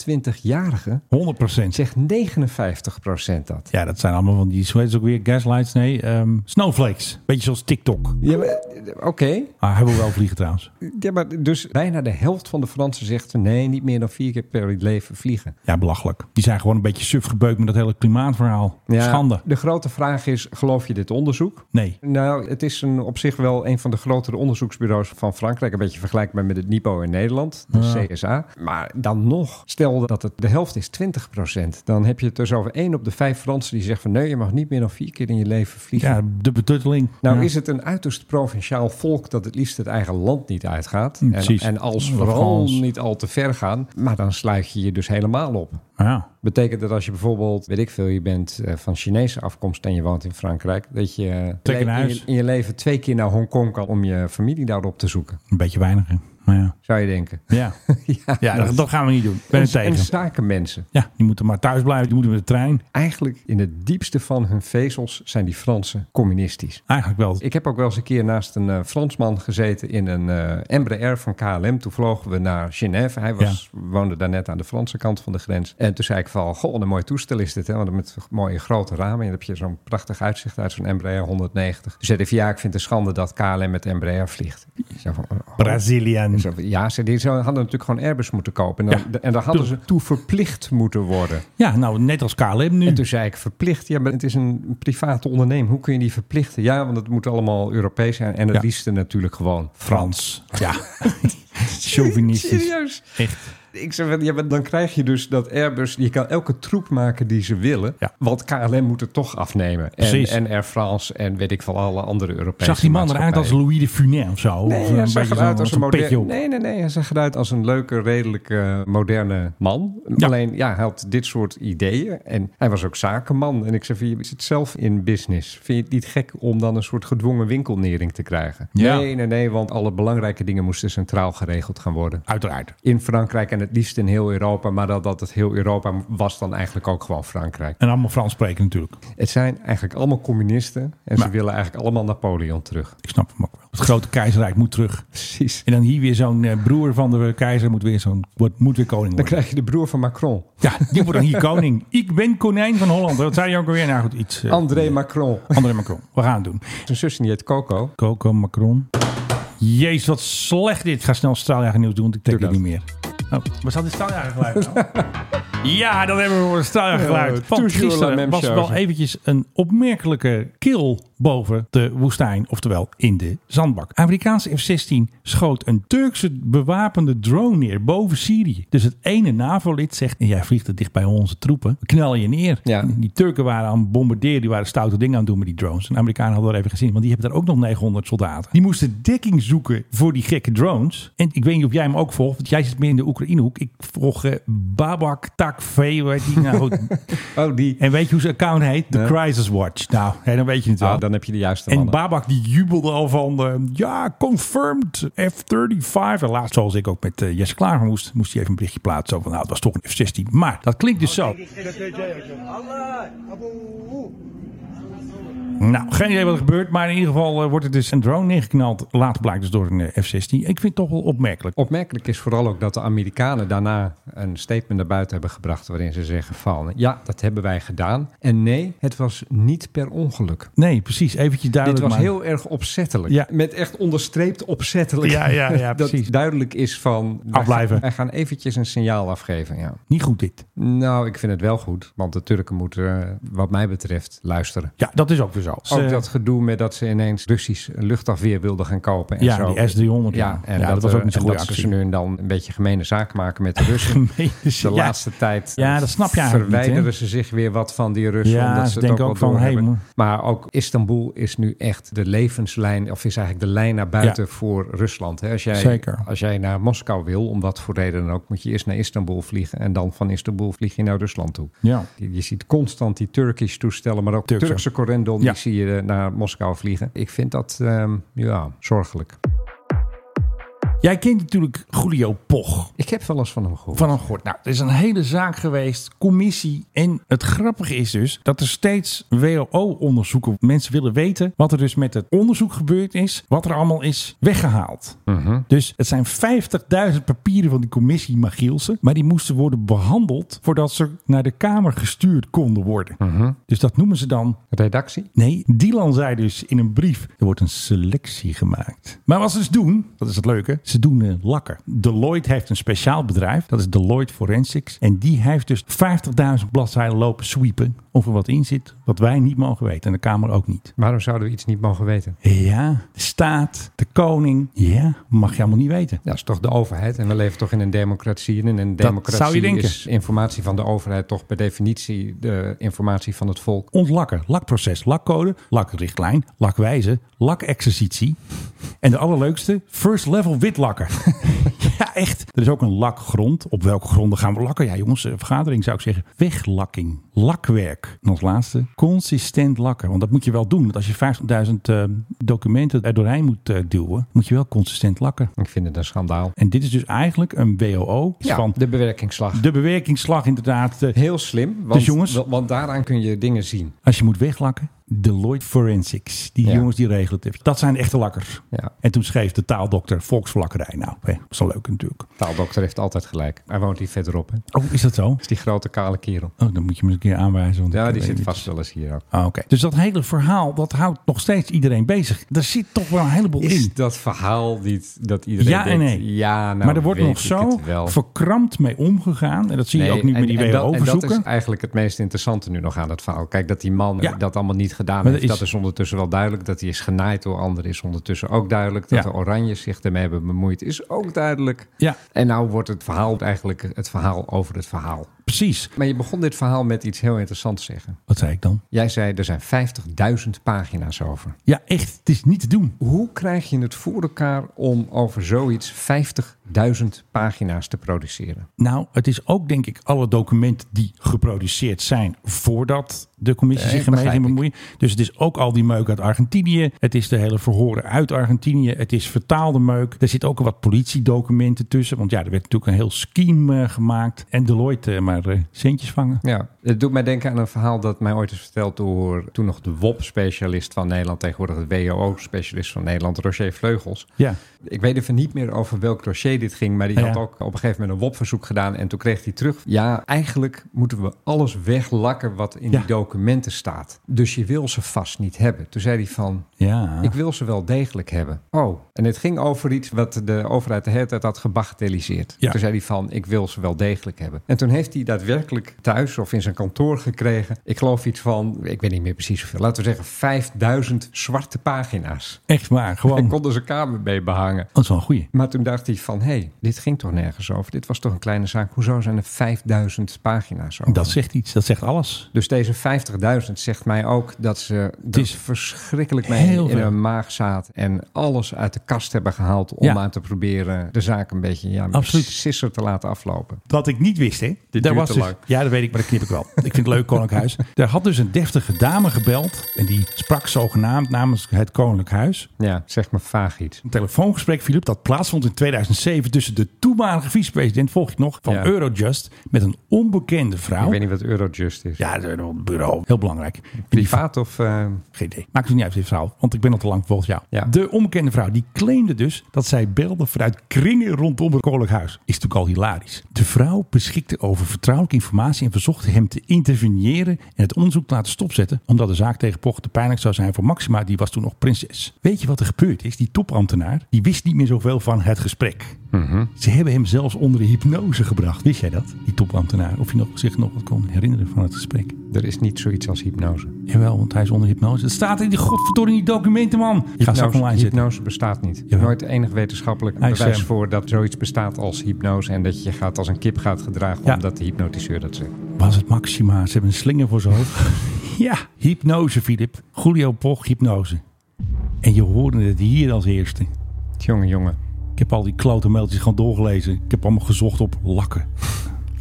[SPEAKER 7] 24-jarigen
[SPEAKER 6] 100
[SPEAKER 7] zegt 59% dat.
[SPEAKER 6] Ja, dat zijn allemaal van die, hoe heet het ook weer? Gaslights? Nee, ehm, snowflakes. Beetje zoals TikTok.
[SPEAKER 7] Ja, maar, eh, oké.
[SPEAKER 6] Ah, hebben we wel vliegen trouwens.
[SPEAKER 7] Ja, maar dus bijna de helft van de Fransen zegt nee, niet meer dan vier keer per leven vliegen.
[SPEAKER 6] Ja, belachelijk. Die zijn gewoon een beetje suf gebeukt met dat hele klimaatverhaal.
[SPEAKER 7] Ja,
[SPEAKER 6] Schande.
[SPEAKER 7] De grote vraag is, geloof je dit onderzoek?
[SPEAKER 6] Nee.
[SPEAKER 7] Nou, het is een, op zich wel een van de grotere onderzoeksbureaus van Frankrijk. Een beetje vergelijkbaar met het NIPO in Nederland, de CSA. Maar dan nog, stel dat het de helft is 20%. Dan heb je het dus over 1 op de 5 Fransen die zegt van... nee, je mag niet meer dan vier keer in je leven vliegen.
[SPEAKER 6] Ja, de betutteling.
[SPEAKER 7] Nou
[SPEAKER 6] Ja.
[SPEAKER 7] is het een uiterst provinciaal volk dat het liefst het eigen land niet uitgaat.
[SPEAKER 6] Mm,
[SPEAKER 7] En,
[SPEAKER 6] precies.
[SPEAKER 7] en als
[SPEAKER 6] Of
[SPEAKER 7] vooral
[SPEAKER 6] Frans.
[SPEAKER 7] niet al te ver gaan. Maar dan sluit je je dus helemaal op.
[SPEAKER 6] Ja.
[SPEAKER 7] Betekent dat als je bijvoorbeeld, weet ik veel, je bent eh, van Chinese afkomst en je woont in Frankrijk, dat je, eh,
[SPEAKER 6] Trek in
[SPEAKER 7] le- in,
[SPEAKER 6] huis.
[SPEAKER 7] je, in je leven twee keer naar Hongkong kan om je familie daarop te zoeken,
[SPEAKER 6] Een beetje weinig, hè. Maar ja.
[SPEAKER 7] zou je denken. (laughs)
[SPEAKER 6] Ja,
[SPEAKER 7] ja,
[SPEAKER 6] ja dat, dat gaan we niet doen. Ik ben
[SPEAKER 7] en,
[SPEAKER 6] er tegen.
[SPEAKER 7] en zakenmensen.
[SPEAKER 6] Ja, die moeten maar thuis blijven. Die moeten met de trein.
[SPEAKER 7] Eigenlijk in het diepste van hun vezels zijn die Fransen communistisch.
[SPEAKER 6] Eigenlijk wel.
[SPEAKER 7] Ik heb ook wel eens een keer naast een eh, Fransman gezeten in een eh Embraer van KLM. Toen vlogen we naar Genève. Hij was, woonde daar net aan de Franse kant van de grens. En toen zei ik van, goh, wat een mooi toestel is dit. Hè? Want met mooie grote ramen. En dan heb je zo'n prachtig uitzicht uit zo'n Embraer 190. Toen zei hij van, ja, ik vind het een schande dat KLM met Embraer vliegt. Ik zei van, oh,
[SPEAKER 6] Brazilian.
[SPEAKER 7] zo van, Ja, ze die zouden- hadden natuurlijk gewoon Airbus moeten kopen. En dan, en dan hadden ze toe verplicht moeten worden.
[SPEAKER 6] Ja, nou, net als KLM nu.
[SPEAKER 7] En toen zei ik verplicht. Ja, maar het is een private onderneming. Hoe kun je die verplichten? Ja, want het moet allemaal Europees zijn. En het
[SPEAKER 6] Ja.
[SPEAKER 7] liefste natuurlijk gewoon.
[SPEAKER 6] Frans.
[SPEAKER 7] (laughs)
[SPEAKER 6] Ja. Chauvinistisch.
[SPEAKER 7] Serieus?
[SPEAKER 6] Echt.
[SPEAKER 7] Ik zeg, van, ja, maar dan krijg je dus dat Airbus... Je kan elke troep maken die ze willen.
[SPEAKER 6] Ja.
[SPEAKER 7] Want KLM moet het toch afnemen. En,
[SPEAKER 6] Precies.
[SPEAKER 7] en Air France en weet ik van alle andere Europese
[SPEAKER 6] Zag die man eruit als
[SPEAKER 7] maatschappijen.
[SPEAKER 6] Louis de Funès of zo?
[SPEAKER 7] Nee,
[SPEAKER 6] Of eh,
[SPEAKER 7] hij zag
[SPEAKER 6] beetje
[SPEAKER 7] eruit
[SPEAKER 6] zo'n-
[SPEAKER 7] als een
[SPEAKER 6] zo'n petje
[SPEAKER 7] moderne.
[SPEAKER 6] op.
[SPEAKER 7] Nee, nee, nee. Hij zag eruit als een leuke, redelijke, moderne man.
[SPEAKER 6] Ja.
[SPEAKER 7] Alleen, ja, hij had dit soort ideeën. En hij was ook zakenman. En ik zei: van, Je zit zelf in business. Vind je het niet gek om dan een soort gedwongen winkelnering te krijgen?
[SPEAKER 6] Ja.
[SPEAKER 7] Nee, nee, nee. Want alle belangrijke dingen moesten centraal geregeld gaan worden.
[SPEAKER 6] Uiteraard.
[SPEAKER 7] In Frankrijk. En het liefst in heel Europa. Maar dat, dat het heel Europa was dan eigenlijk ook gewoon Frankrijk.
[SPEAKER 6] En allemaal Frans spreken natuurlijk.
[SPEAKER 7] Het zijn eigenlijk allemaal communisten. En ze willen eigenlijk allemaal Napoleon terug.
[SPEAKER 6] Ik snap hem ook wel. Het grote keizerrijk moet terug.
[SPEAKER 7] Precies.
[SPEAKER 6] En dan hier weer zo'n eh, broer van de keizer moet weer, zo'n, wordt, moet weer koning
[SPEAKER 7] Dan
[SPEAKER 6] worden.
[SPEAKER 7] krijg je de broer van Macron.
[SPEAKER 6] Ja, die wordt dan hier (laughs) koning. Ik ben konijn van Holland. Wat zei je ook alweer? Nou goed, iets. eh,
[SPEAKER 7] André Macron.
[SPEAKER 6] André Macron. We gaan het doen.
[SPEAKER 7] Zijn zusje die heet Coco.
[SPEAKER 6] Coco Macron. Jezus, wat slecht dit. Ik ga snel straaljager nieuws doen, want ik trek
[SPEAKER 7] Doe
[SPEAKER 6] het niet meer. Oh, maar zat dit straaljager geluid nou?
[SPEAKER 7] (laughs)
[SPEAKER 6] ja, dan hebben we voor het straaljager geluid.
[SPEAKER 7] Eh,
[SPEAKER 6] Van
[SPEAKER 7] toujours la
[SPEAKER 6] gisteren
[SPEAKER 7] même
[SPEAKER 6] was
[SPEAKER 7] chose.
[SPEAKER 6] wel eventjes een opmerkelijke kill boven de woestijn. Oftewel in de zandbak. Amerikaanse F-16 schoot een Turkse bewapende drone neer boven Syrië. Dus het ene NAVO-lid zegt, jij vliegt er dicht bij onze troepen. We knallen je neer.
[SPEAKER 7] Ja.
[SPEAKER 6] Die Turken waren aan het bombarderen, die waren stoute dingen aan het doen met die drones. En de Amerikanen hadden dat even gezien, want die hebben daar ook nog 900 soldaten. Die moesten dekking zoeken voor die gekke drones. En ik weet niet of jij hem ook volgt, want jij zit meer in de Oekraïnehoek. Ik volg eh, Babak Takvee, hoe heet die nou? goed.
[SPEAKER 7] Oh, die.
[SPEAKER 6] en weet je hoe zijn account heet? The Crisis Watch. Nou, hè, dan weet je het wel.
[SPEAKER 7] Ah, dan heb je de juiste
[SPEAKER 6] En
[SPEAKER 7] mannen.
[SPEAKER 6] Babak die jubelde al van, eh, ja, confirmed F-35. En laatst, zoals ik ook met eh, Jesse Klaver moest, moest hij even een berichtje plaatsen. Van, nou, het was toch een F-16. Maar dat klinkt dus zo. Nou, geen idee wat er gebeurt, maar in ieder geval eh, wordt het dus een drone neergeknald. Later blijkt dus door een eh, F-16. Ik vind het toch wel opmerkelijk.
[SPEAKER 7] Opmerkelijk is vooral ook dat de Amerikanen daarna een statement naar buiten hebben gebracht waarin ze zeggen van ja, dat hebben wij gedaan. En nee, het was niet per ongeluk.
[SPEAKER 6] Nee, precies. Eventjes
[SPEAKER 7] Dit
[SPEAKER 6] duidelijk.
[SPEAKER 7] was
[SPEAKER 6] maar-
[SPEAKER 7] heel erg opzettelijk.
[SPEAKER 6] Ja.
[SPEAKER 7] Met echt onderstreept opzettelijk.
[SPEAKER 6] Ja, ja, ja,
[SPEAKER 7] (laughs) dat
[SPEAKER 6] precies.
[SPEAKER 7] duidelijk is van... wij
[SPEAKER 6] Afblijven.
[SPEAKER 7] gaan- Wij gaan eventjes een signaal afgeven, ja.
[SPEAKER 6] Niet goed dit.
[SPEAKER 7] Nou, ik vind het wel goed. Want de Turken moeten, eh, wat mij betreft, luisteren.
[SPEAKER 6] Ja, dat is ook weer zo. Dus, eh,
[SPEAKER 7] Ook
[SPEAKER 6] Ze-
[SPEAKER 7] dat gedoe met dat ze ineens Russisch luchtafweer wilden gaan kopen. En
[SPEAKER 6] Ja,
[SPEAKER 7] zo.
[SPEAKER 6] die S-300, ja. eh,
[SPEAKER 7] Ja, en
[SPEAKER 6] Ja,
[SPEAKER 7] dat, was ook niet
[SPEAKER 6] zo'n goede
[SPEAKER 7] Dat
[SPEAKER 6] actie.
[SPEAKER 7] ze nu en dan een beetje gemene zaak
[SPEAKER 6] (laughs)
[SPEAKER 7] maken met de Russen.
[SPEAKER 6] Gemeente-
[SPEAKER 7] De
[SPEAKER 6] ja.
[SPEAKER 7] laatste tijd
[SPEAKER 6] Ja, dat snap je eigenlijk niet, hè?
[SPEAKER 7] verwijderen ze zich weer wat van die Russen.
[SPEAKER 6] Ja,
[SPEAKER 7] omdat
[SPEAKER 6] ze
[SPEAKER 7] ze
[SPEAKER 6] denken
[SPEAKER 7] het
[SPEAKER 6] ook
[SPEAKER 7] ook, wel
[SPEAKER 6] van, hey,
[SPEAKER 7] doorhebben.
[SPEAKER 6] moe.
[SPEAKER 7] Maar ook Istanbul is nu echt de levenslijn, of is eigenlijk de lijn naar buiten
[SPEAKER 6] Ja.
[SPEAKER 7] voor Rusland. hè. Als jij,
[SPEAKER 6] Zeker.
[SPEAKER 7] als jij naar Moskou wil, om wat voor reden dan ook, moet je eerst naar Istanbul vliegen. En dan van Istanbul vlieg je naar Rusland toe.
[SPEAKER 6] Ja.
[SPEAKER 7] Je, je ziet constant die Turkish toestellen, maar ook
[SPEAKER 6] Turkse.
[SPEAKER 7] Turkse, correndon,
[SPEAKER 6] Ja.
[SPEAKER 7] die zie je eh, naar Moskou vliegen. Ik vind dat ehm, ja, zorgelijk.
[SPEAKER 6] Jij kent natuurlijk Julio Poch.
[SPEAKER 7] Ik heb wel eens van hem gehoord.
[SPEAKER 6] Van een gort. Nou, er is een hele zaak geweest, commissie. En het grappige is dus dat er steeds WLO-onderzoeken. Mensen willen weten wat er dus met het onderzoek gebeurd is. Wat er allemaal is weggehaald. Dus het zijn 50.000 papieren van die commissie Magielsen. Maar die moesten worden behandeld voordat ze naar de Kamer gestuurd konden worden. Dus dat noemen ze dan
[SPEAKER 7] Redactie?
[SPEAKER 6] Nee, Dylan zei dus in een brief: er wordt een selectie gemaakt. Maar wat ze dus doen, dat is het leuke, ze doen eh, lakken. Deloitte heeft een speciaal bedrijf, dat is Deloitte Forensics. En die heeft dus 50.000 bladzijden lopen sweepen of er wat in zit wat wij niet mogen weten en de Kamer ook niet.
[SPEAKER 7] Waarom zouden we iets niet mogen weten?
[SPEAKER 6] Ja, de staat, de koning, ja, mag je allemaal niet weten.
[SPEAKER 7] Ja, dat is toch de overheid. En we leven toch in een democratie. En in een democratie
[SPEAKER 6] zou je denken.
[SPEAKER 7] is informatie van de overheid toch per definitie de informatie van het volk.
[SPEAKER 6] Ontlakken, lakproces, lakcode, lakrichtlijn, lakwijze, lakexercitie. En de allerleukste, first level witlakken. (laughs) ja, echt. Er is ook een lakgrond. Op welke gronden gaan we lakken? Ja, jongens, eh, vergadering zou ik zeggen. Weglakking, lakwerk. En als laatste, consistent lakken. Want dat moet je wel doen. Want als je 50.000 eh, documenten er doorheen moet eh, duwen, moet je wel consistent lakken.
[SPEAKER 7] Ik vind het een schandaal.
[SPEAKER 6] En dit is dus eigenlijk een WOO
[SPEAKER 7] Ja,
[SPEAKER 6] van
[SPEAKER 7] de bewerkingsslag.
[SPEAKER 6] de bewerkingsslag inderdaad. eh,
[SPEAKER 7] Heel slim. Want,
[SPEAKER 6] Dus jongens-
[SPEAKER 7] wa- want daaraan kun je dingen zien.
[SPEAKER 6] Als je moet weglakken, Deloitte Forensics. Die
[SPEAKER 7] Ja.
[SPEAKER 6] jongens die regelen het. even. Dat zijn de echte lakkers.
[SPEAKER 7] Ja.
[SPEAKER 6] En toen schreef de taaldokter volksvlakkerij. Nou, hè, dat is wel leuk natuurlijk.
[SPEAKER 7] Taaldokter heeft altijd gelijk. Hij woont hier verderop. Hè?
[SPEAKER 6] Oh, is dat zo?
[SPEAKER 7] Is die grote kale kerel.
[SPEAKER 6] Oh, dan moet je me eens een keer aanwijzen. Want
[SPEAKER 7] Ja,
[SPEAKER 6] ik
[SPEAKER 7] die
[SPEAKER 6] weet
[SPEAKER 7] zit
[SPEAKER 6] niet.
[SPEAKER 7] vast wel eens hier ook.
[SPEAKER 6] Ah, Oké. Dus dat hele verhaal, dat houdt nog steeds iedereen bezig. Er zit toch wel een heleboel in.
[SPEAKER 7] Is dat verhaal niet dat iedereen
[SPEAKER 6] ja en
[SPEAKER 7] denkt...
[SPEAKER 6] nee.
[SPEAKER 7] Ja, nou
[SPEAKER 6] maar er wordt
[SPEAKER 7] weet
[SPEAKER 6] nog
[SPEAKER 7] ik
[SPEAKER 6] zo
[SPEAKER 7] het wel.
[SPEAKER 6] verkrampt mee omgegaan. En dat zie je
[SPEAKER 7] Nee,
[SPEAKER 6] ook nu met die
[SPEAKER 7] en dat- en
[SPEAKER 6] WHO-verzoeken.
[SPEAKER 7] dat is eigenlijk het meest interessante nu nog aan het verhaal. Kijk, dat die man
[SPEAKER 6] Ja.
[SPEAKER 7] dat allemaal niet gedaan
[SPEAKER 6] Maar
[SPEAKER 7] heeft,
[SPEAKER 6] dat is-
[SPEAKER 7] dat is ondertussen wel duidelijk. Dat hij is genaaid door anderen is ondertussen ook duidelijk. Dat
[SPEAKER 6] Ja.
[SPEAKER 7] de Oranjes zich ermee hebben bemoeid is ook duidelijk.
[SPEAKER 6] Ja.
[SPEAKER 7] En nou wordt het verhaal eigenlijk het verhaal over het verhaal.
[SPEAKER 6] Precies.
[SPEAKER 7] Maar je begon dit verhaal met iets heel interessants zeggen.
[SPEAKER 6] Wat zei ik dan?
[SPEAKER 7] Jij zei, er zijn 50.000 pagina's over.
[SPEAKER 6] Ja, echt. Het is niet te doen.
[SPEAKER 7] Hoe krijg je het voor elkaar om over zoiets 50.000 duizend pagina's te produceren.
[SPEAKER 6] Nou, het is ook denk ik alle documenten die geproduceerd zijn voordat de commissie
[SPEAKER 7] Nee,
[SPEAKER 6] zich ermee ging
[SPEAKER 7] Eh, begrijp
[SPEAKER 6] bemoeien. Dus het is ook al die meuk uit Argentinië. Het is de hele verhoren uit Argentinië. Het is vertaalde meuk. Er zit ook wat politiedocumenten tussen. Want ja, er werd natuurlijk een heel scheme eh, gemaakt. En Deloitte eh, maar eh, centjes vangen.
[SPEAKER 7] Ja, het doet mij denken aan een verhaal dat mij ooit is verteld door toen nog de WOP-specialist van Nederland, tegenwoordig de WOO-specialist van Nederland, Roger Vleugels.
[SPEAKER 6] Ja.
[SPEAKER 7] Ik weet even niet meer over welk dossier dit ging, maar die
[SPEAKER 6] Ja.
[SPEAKER 7] had ook op een gegeven moment een WOP-verzoek gedaan en toen kreeg hij terug. Ja, eigenlijk moeten we alles weglakken wat in die documenten staat. Dus je wil ze vast niet hebben. Toen zei hij van,
[SPEAKER 6] Ja.
[SPEAKER 7] ik wil ze wel degelijk hebben. Oh, en het ging over iets wat de overheid de hele tijd had gebagatelliseerd.
[SPEAKER 6] Ja.
[SPEAKER 7] Toen zei hij van, ik wil ze wel degelijk hebben. En toen heeft hij daadwerkelijk thuis of in zijn kantoor gekregen... ik geloof iets van, ik weet niet meer precies hoeveel... laten we zeggen 5000 zwarte pagina's.
[SPEAKER 6] Echt waar, gewoon.
[SPEAKER 7] Hij kon er zijn kamer mee behangen.
[SPEAKER 6] Dat is wel een goeie.
[SPEAKER 7] Maar toen dacht hij van, hé, hey, dit ging toch nergens over? Dit was toch een kleine zaak? Hoezo zijn er 5000 pagina's over?
[SPEAKER 6] Dat zegt iets, dat zegt alles.
[SPEAKER 7] Dus deze 50.000 zegt mij ook dat ze er
[SPEAKER 6] is
[SPEAKER 7] verschrikkelijk mee
[SPEAKER 6] heel
[SPEAKER 7] in
[SPEAKER 6] veel.
[SPEAKER 7] hun maag zaten. En alles uit de kast hebben gehaald om
[SPEAKER 6] Ja.
[SPEAKER 7] aan te proberen de zaak een beetje ja, met
[SPEAKER 6] Absoluut.
[SPEAKER 7] sisser te laten aflopen.
[SPEAKER 6] Wat ik niet wist, hè?
[SPEAKER 7] Dit
[SPEAKER 6] Daar
[SPEAKER 7] duurt te
[SPEAKER 6] dus-
[SPEAKER 7] lang.
[SPEAKER 6] Ja, dat weet ik, maar dat knip ik wel. ik vind het leuk, Koninklijk Huis. Daar had dus een deftige dame gebeld. En die sprak zogenaamd namens het Koninklijk Huis.
[SPEAKER 7] Ja, zeg maar vaag iets.
[SPEAKER 6] Een telefoongesprek, Filip, dat plaatsvond in 2007 tussen de toenmalige vicepresident, volg je het nog, van
[SPEAKER 7] Ja.
[SPEAKER 6] Eurojust. Met een onbekende vrouw.
[SPEAKER 7] Ik weet niet wat Eurojust is.
[SPEAKER 6] Oh. Ja, een bureau. Heel belangrijk.
[SPEAKER 7] Privaat of... eh,
[SPEAKER 6] Geen idee. Maakt het niet uit, dit verhaal. Want ik ben al te lang volgens jou. De onbekende vrouw, die claimde dus dat zij belde vanuit kringen rondom het koninklijk huis. Is natuurlijk al hilarisch. De vrouw beschikte over vertrouwelijke informatie en verzocht hem te interveneren en het onderzoek te laten stopzetten. Omdat de zaak tegen Poch te pijnlijk zou zijn voor Maxima, die was toen nog prinses. Weet je wat er gebeurd is? Die topambtenaar, die wist niet meer zoveel van het gesprek. Ze hebben hem zelfs onder de hypnose gebracht. Wist jij dat? Die topambtenaar. Of je nog, zich nog wat kon herinneren van het gesprek.
[SPEAKER 7] Er is niet zoiets als hypnose.
[SPEAKER 6] Jawel, want hij is onder hypnose. Het staat in die godverdorie in die documenten, man. Ik ga
[SPEAKER 7] Hypnose,
[SPEAKER 6] straks online zitten.
[SPEAKER 7] hypnose bestaat niet.
[SPEAKER 6] Jawel.
[SPEAKER 7] Nooit enig wetenschappelijk
[SPEAKER 6] Hij is,
[SPEAKER 7] bewijs
[SPEAKER 6] eh,
[SPEAKER 7] voor dat zoiets bestaat als hypnose. En dat je gaat als een kip gaat gedragen
[SPEAKER 6] Ja.
[SPEAKER 7] omdat de hypnotiseur dat zegt.
[SPEAKER 6] Was het Maxima? Ze hebben een slinger voor zijn (laughs) hoofd. ja, hypnose, Filip. Julio Poch, hypnose. En je hoorde het hier als eerste.
[SPEAKER 7] Jongen, jongen.
[SPEAKER 6] Ik heb al die klote mailtjes gewoon doorgelezen. Ik heb allemaal gezocht op lakken.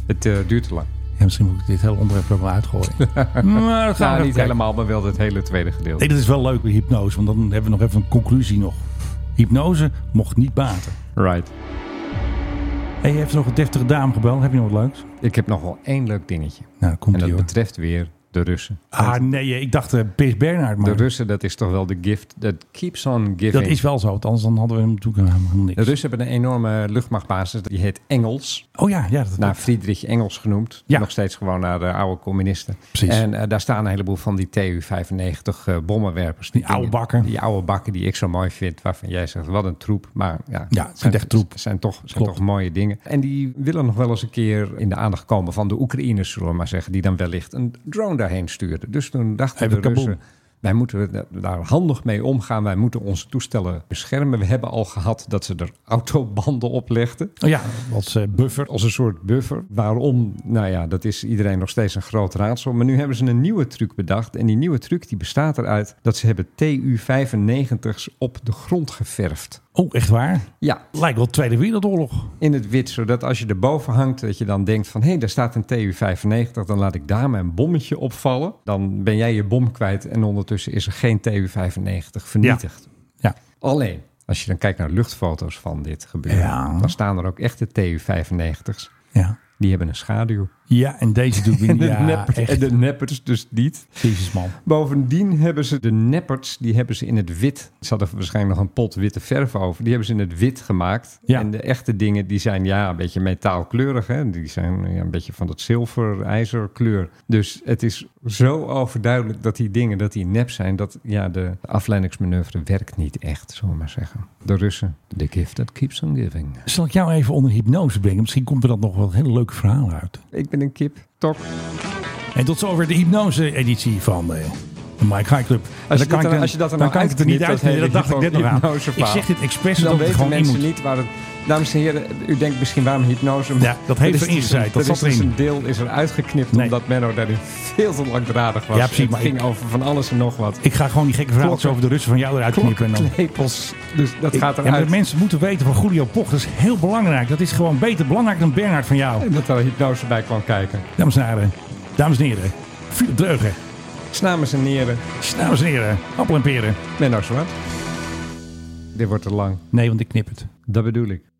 [SPEAKER 7] Het eh, duurt te lang.
[SPEAKER 6] Ja, misschien moet ik dit hele onderwerp er wel (laughs) uitgooien. maar dat gaan we even
[SPEAKER 7] Nou, niet
[SPEAKER 6] kijken.
[SPEAKER 7] helemaal, maar wel het hele tweede gedeelte.
[SPEAKER 6] Nee, dat is wel leuk bij hypnose, want dan hebben we nog even een conclusie nog. Hypnose mocht niet baten.
[SPEAKER 7] Right.
[SPEAKER 6] Hey, je hebt nog een deftige dame gebeld. Heb je nog wat leuks?
[SPEAKER 7] Ik heb nog wel één leuk dingetje.
[SPEAKER 6] Nou, komt
[SPEAKER 7] en dat
[SPEAKER 6] ie, hoor.
[SPEAKER 7] betreft weer de Russen.
[SPEAKER 6] Ah, nee, ik dacht eh Pis Bernhard.
[SPEAKER 7] De
[SPEAKER 6] Maar
[SPEAKER 7] Russen, dat is toch wel de gift that keeps on giving.
[SPEAKER 6] dat is wel zo, want anders dan hadden we hem natuurlijk eh, helemaal niks.
[SPEAKER 7] De Russen hebben een enorme luchtmachtbasis, die heet Engels.
[SPEAKER 6] Oh ja, ja dat
[SPEAKER 7] Naar Friedrich Engels genoemd.
[SPEAKER 6] Ja.
[SPEAKER 7] Nog steeds gewoon naar de oude communisten.
[SPEAKER 6] Precies.
[SPEAKER 7] En eh, daar staan een heleboel van die TU-95 eh, bommenwerpers.
[SPEAKER 6] Die oude
[SPEAKER 7] dingen-
[SPEAKER 6] bakken.
[SPEAKER 7] Die oude bakken die ik zo mooi vind. Waarvan jij zegt, wat een troep. Maar ja,
[SPEAKER 6] Ja, het zijn echt troep.
[SPEAKER 7] Zijn toch, zijn
[SPEAKER 6] Klopt.
[SPEAKER 7] toch mooie dingen. En die willen nog wel eens een keer in de aandacht komen van de Oekraïners, zullen we maar zeggen. Die dan wellicht een drone daarheen stuurden. Dus toen dachten
[SPEAKER 6] Even
[SPEAKER 7] de
[SPEAKER 6] kaboom.
[SPEAKER 7] Russen... Wij moeten da- daar handig mee omgaan. Wij moeten onze toestellen beschermen. We hebben al gehad dat ze er autobanden op legden
[SPEAKER 6] Oh ja, als eh, buffer.
[SPEAKER 7] als een soort buffer. Waarom? Nou ja, dat is iedereen nog steeds een groot raadsel. Maar nu hebben ze een nieuwe truc bedacht. En die nieuwe truc die bestaat eruit dat ze hebben TU-95's op de grond geverfd.
[SPEAKER 6] Oh, echt waar?
[SPEAKER 7] Ja,
[SPEAKER 6] Lijkt wel Tweede Wereldoorlog.
[SPEAKER 7] in het wit, zodat als je erboven hangt, dat je dan denkt van... hé, daar staat een TU-95, dan laat ik daar mijn bommetje opvallen. Dan ben jij je bom kwijt en ondertussen is er geen TU-95 vernietigd.
[SPEAKER 6] Ja.
[SPEAKER 7] Alleen, als je dan kijkt naar luchtfoto's van dit gebeuren...
[SPEAKER 6] Ja.
[SPEAKER 7] dan staan er ook echte TU-95's.
[SPEAKER 6] Ja.
[SPEAKER 7] Die hebben een schaduw.
[SPEAKER 6] Ja, en deze doet
[SPEAKER 7] (laughs)
[SPEAKER 6] weer
[SPEAKER 7] En
[SPEAKER 6] niet.
[SPEAKER 7] de,
[SPEAKER 6] Ja,
[SPEAKER 7] neppers, en
[SPEAKER 6] echt.
[SPEAKER 7] de neppers dus niet.
[SPEAKER 6] Jezus, man.
[SPEAKER 7] Bovendien hebben ze de neppers, die hebben ze in het wit. Ze hadden waarschijnlijk nog een pot witte verf over. Die hebben ze in het wit gemaakt.
[SPEAKER 6] Ja.
[SPEAKER 7] En de echte dingen, die zijn ja, een beetje metaalkleurig. Hè? Die zijn ja, een beetje van dat zilver, ijzerkleur. Dus het is zo overduidelijk dat die dingen, dat die nep zijn. Dat ja, de afleidingsmanoeuvre werkt niet echt, zullen we maar zeggen. De Russen, the gift that keeps on giving.
[SPEAKER 6] Zal ik jou even onder hypnose brengen? Misschien komt er dan nog wel een hele leuke verhaal uit.
[SPEAKER 7] Ik ben een kip, toch?
[SPEAKER 6] En tot zover de hypnose-editie van eh, De Mike High Club.
[SPEAKER 7] Als
[SPEAKER 6] Dan kan
[SPEAKER 7] je, dat
[SPEAKER 6] ik
[SPEAKER 7] dan,
[SPEAKER 6] dan-
[SPEAKER 7] als je dat dan,
[SPEAKER 6] dan
[SPEAKER 7] nou
[SPEAKER 6] kan ik het er niet
[SPEAKER 7] uitknipt,
[SPEAKER 6] uitknippen. Dat
[SPEAKER 7] hele
[SPEAKER 6] dacht ik net nog aan.
[SPEAKER 7] hypnoseverhaal,
[SPEAKER 6] Ik zeg dit expres,
[SPEAKER 7] Dan
[SPEAKER 6] omdat het
[SPEAKER 7] weten
[SPEAKER 6] gewoon in
[SPEAKER 7] mensen
[SPEAKER 6] moet.
[SPEAKER 7] niet waar het... Dames en heren, u denkt misschien waarom hypnose... maar
[SPEAKER 6] Ja, dat heeft
[SPEAKER 7] is
[SPEAKER 6] erin
[SPEAKER 7] dus-
[SPEAKER 6] gezaaid, dat
[SPEAKER 7] is
[SPEAKER 6] zat
[SPEAKER 7] dus
[SPEAKER 6] erin.
[SPEAKER 7] een deel is er uitgeknipt omdat Menno daarin veel te langdradig was.
[SPEAKER 6] Ja, precies,
[SPEAKER 7] Het
[SPEAKER 6] maar
[SPEAKER 7] ging
[SPEAKER 6] ik-
[SPEAKER 7] over van alles en nog wat.
[SPEAKER 6] Ik ga gewoon die gekke verhaaltjes
[SPEAKER 7] Klokken.
[SPEAKER 6] over de Russen van jou eruit knippen. En dan...
[SPEAKER 7] Klepels, dus dat
[SPEAKER 6] Ik-
[SPEAKER 7] gaat
[SPEAKER 6] ja, maar
[SPEAKER 7] eruit.
[SPEAKER 6] de mensen moeten weten van Julio Poch. Dat is heel belangrijk. Dat is gewoon beter belangrijk dan Bernhard van jou.
[SPEAKER 7] En dat er hypnose bij kwam kijken.
[SPEAKER 6] Dames en heren. Dames en heren. Philip Dreugen.
[SPEAKER 7] Snames Dus en heren.
[SPEAKER 6] Dames en heren. Appel en peren.
[SPEAKER 7] Menno Zwart. Dit wordt te lang.
[SPEAKER 6] Nee, want ik knip het.
[SPEAKER 7] Dat bedoel ik.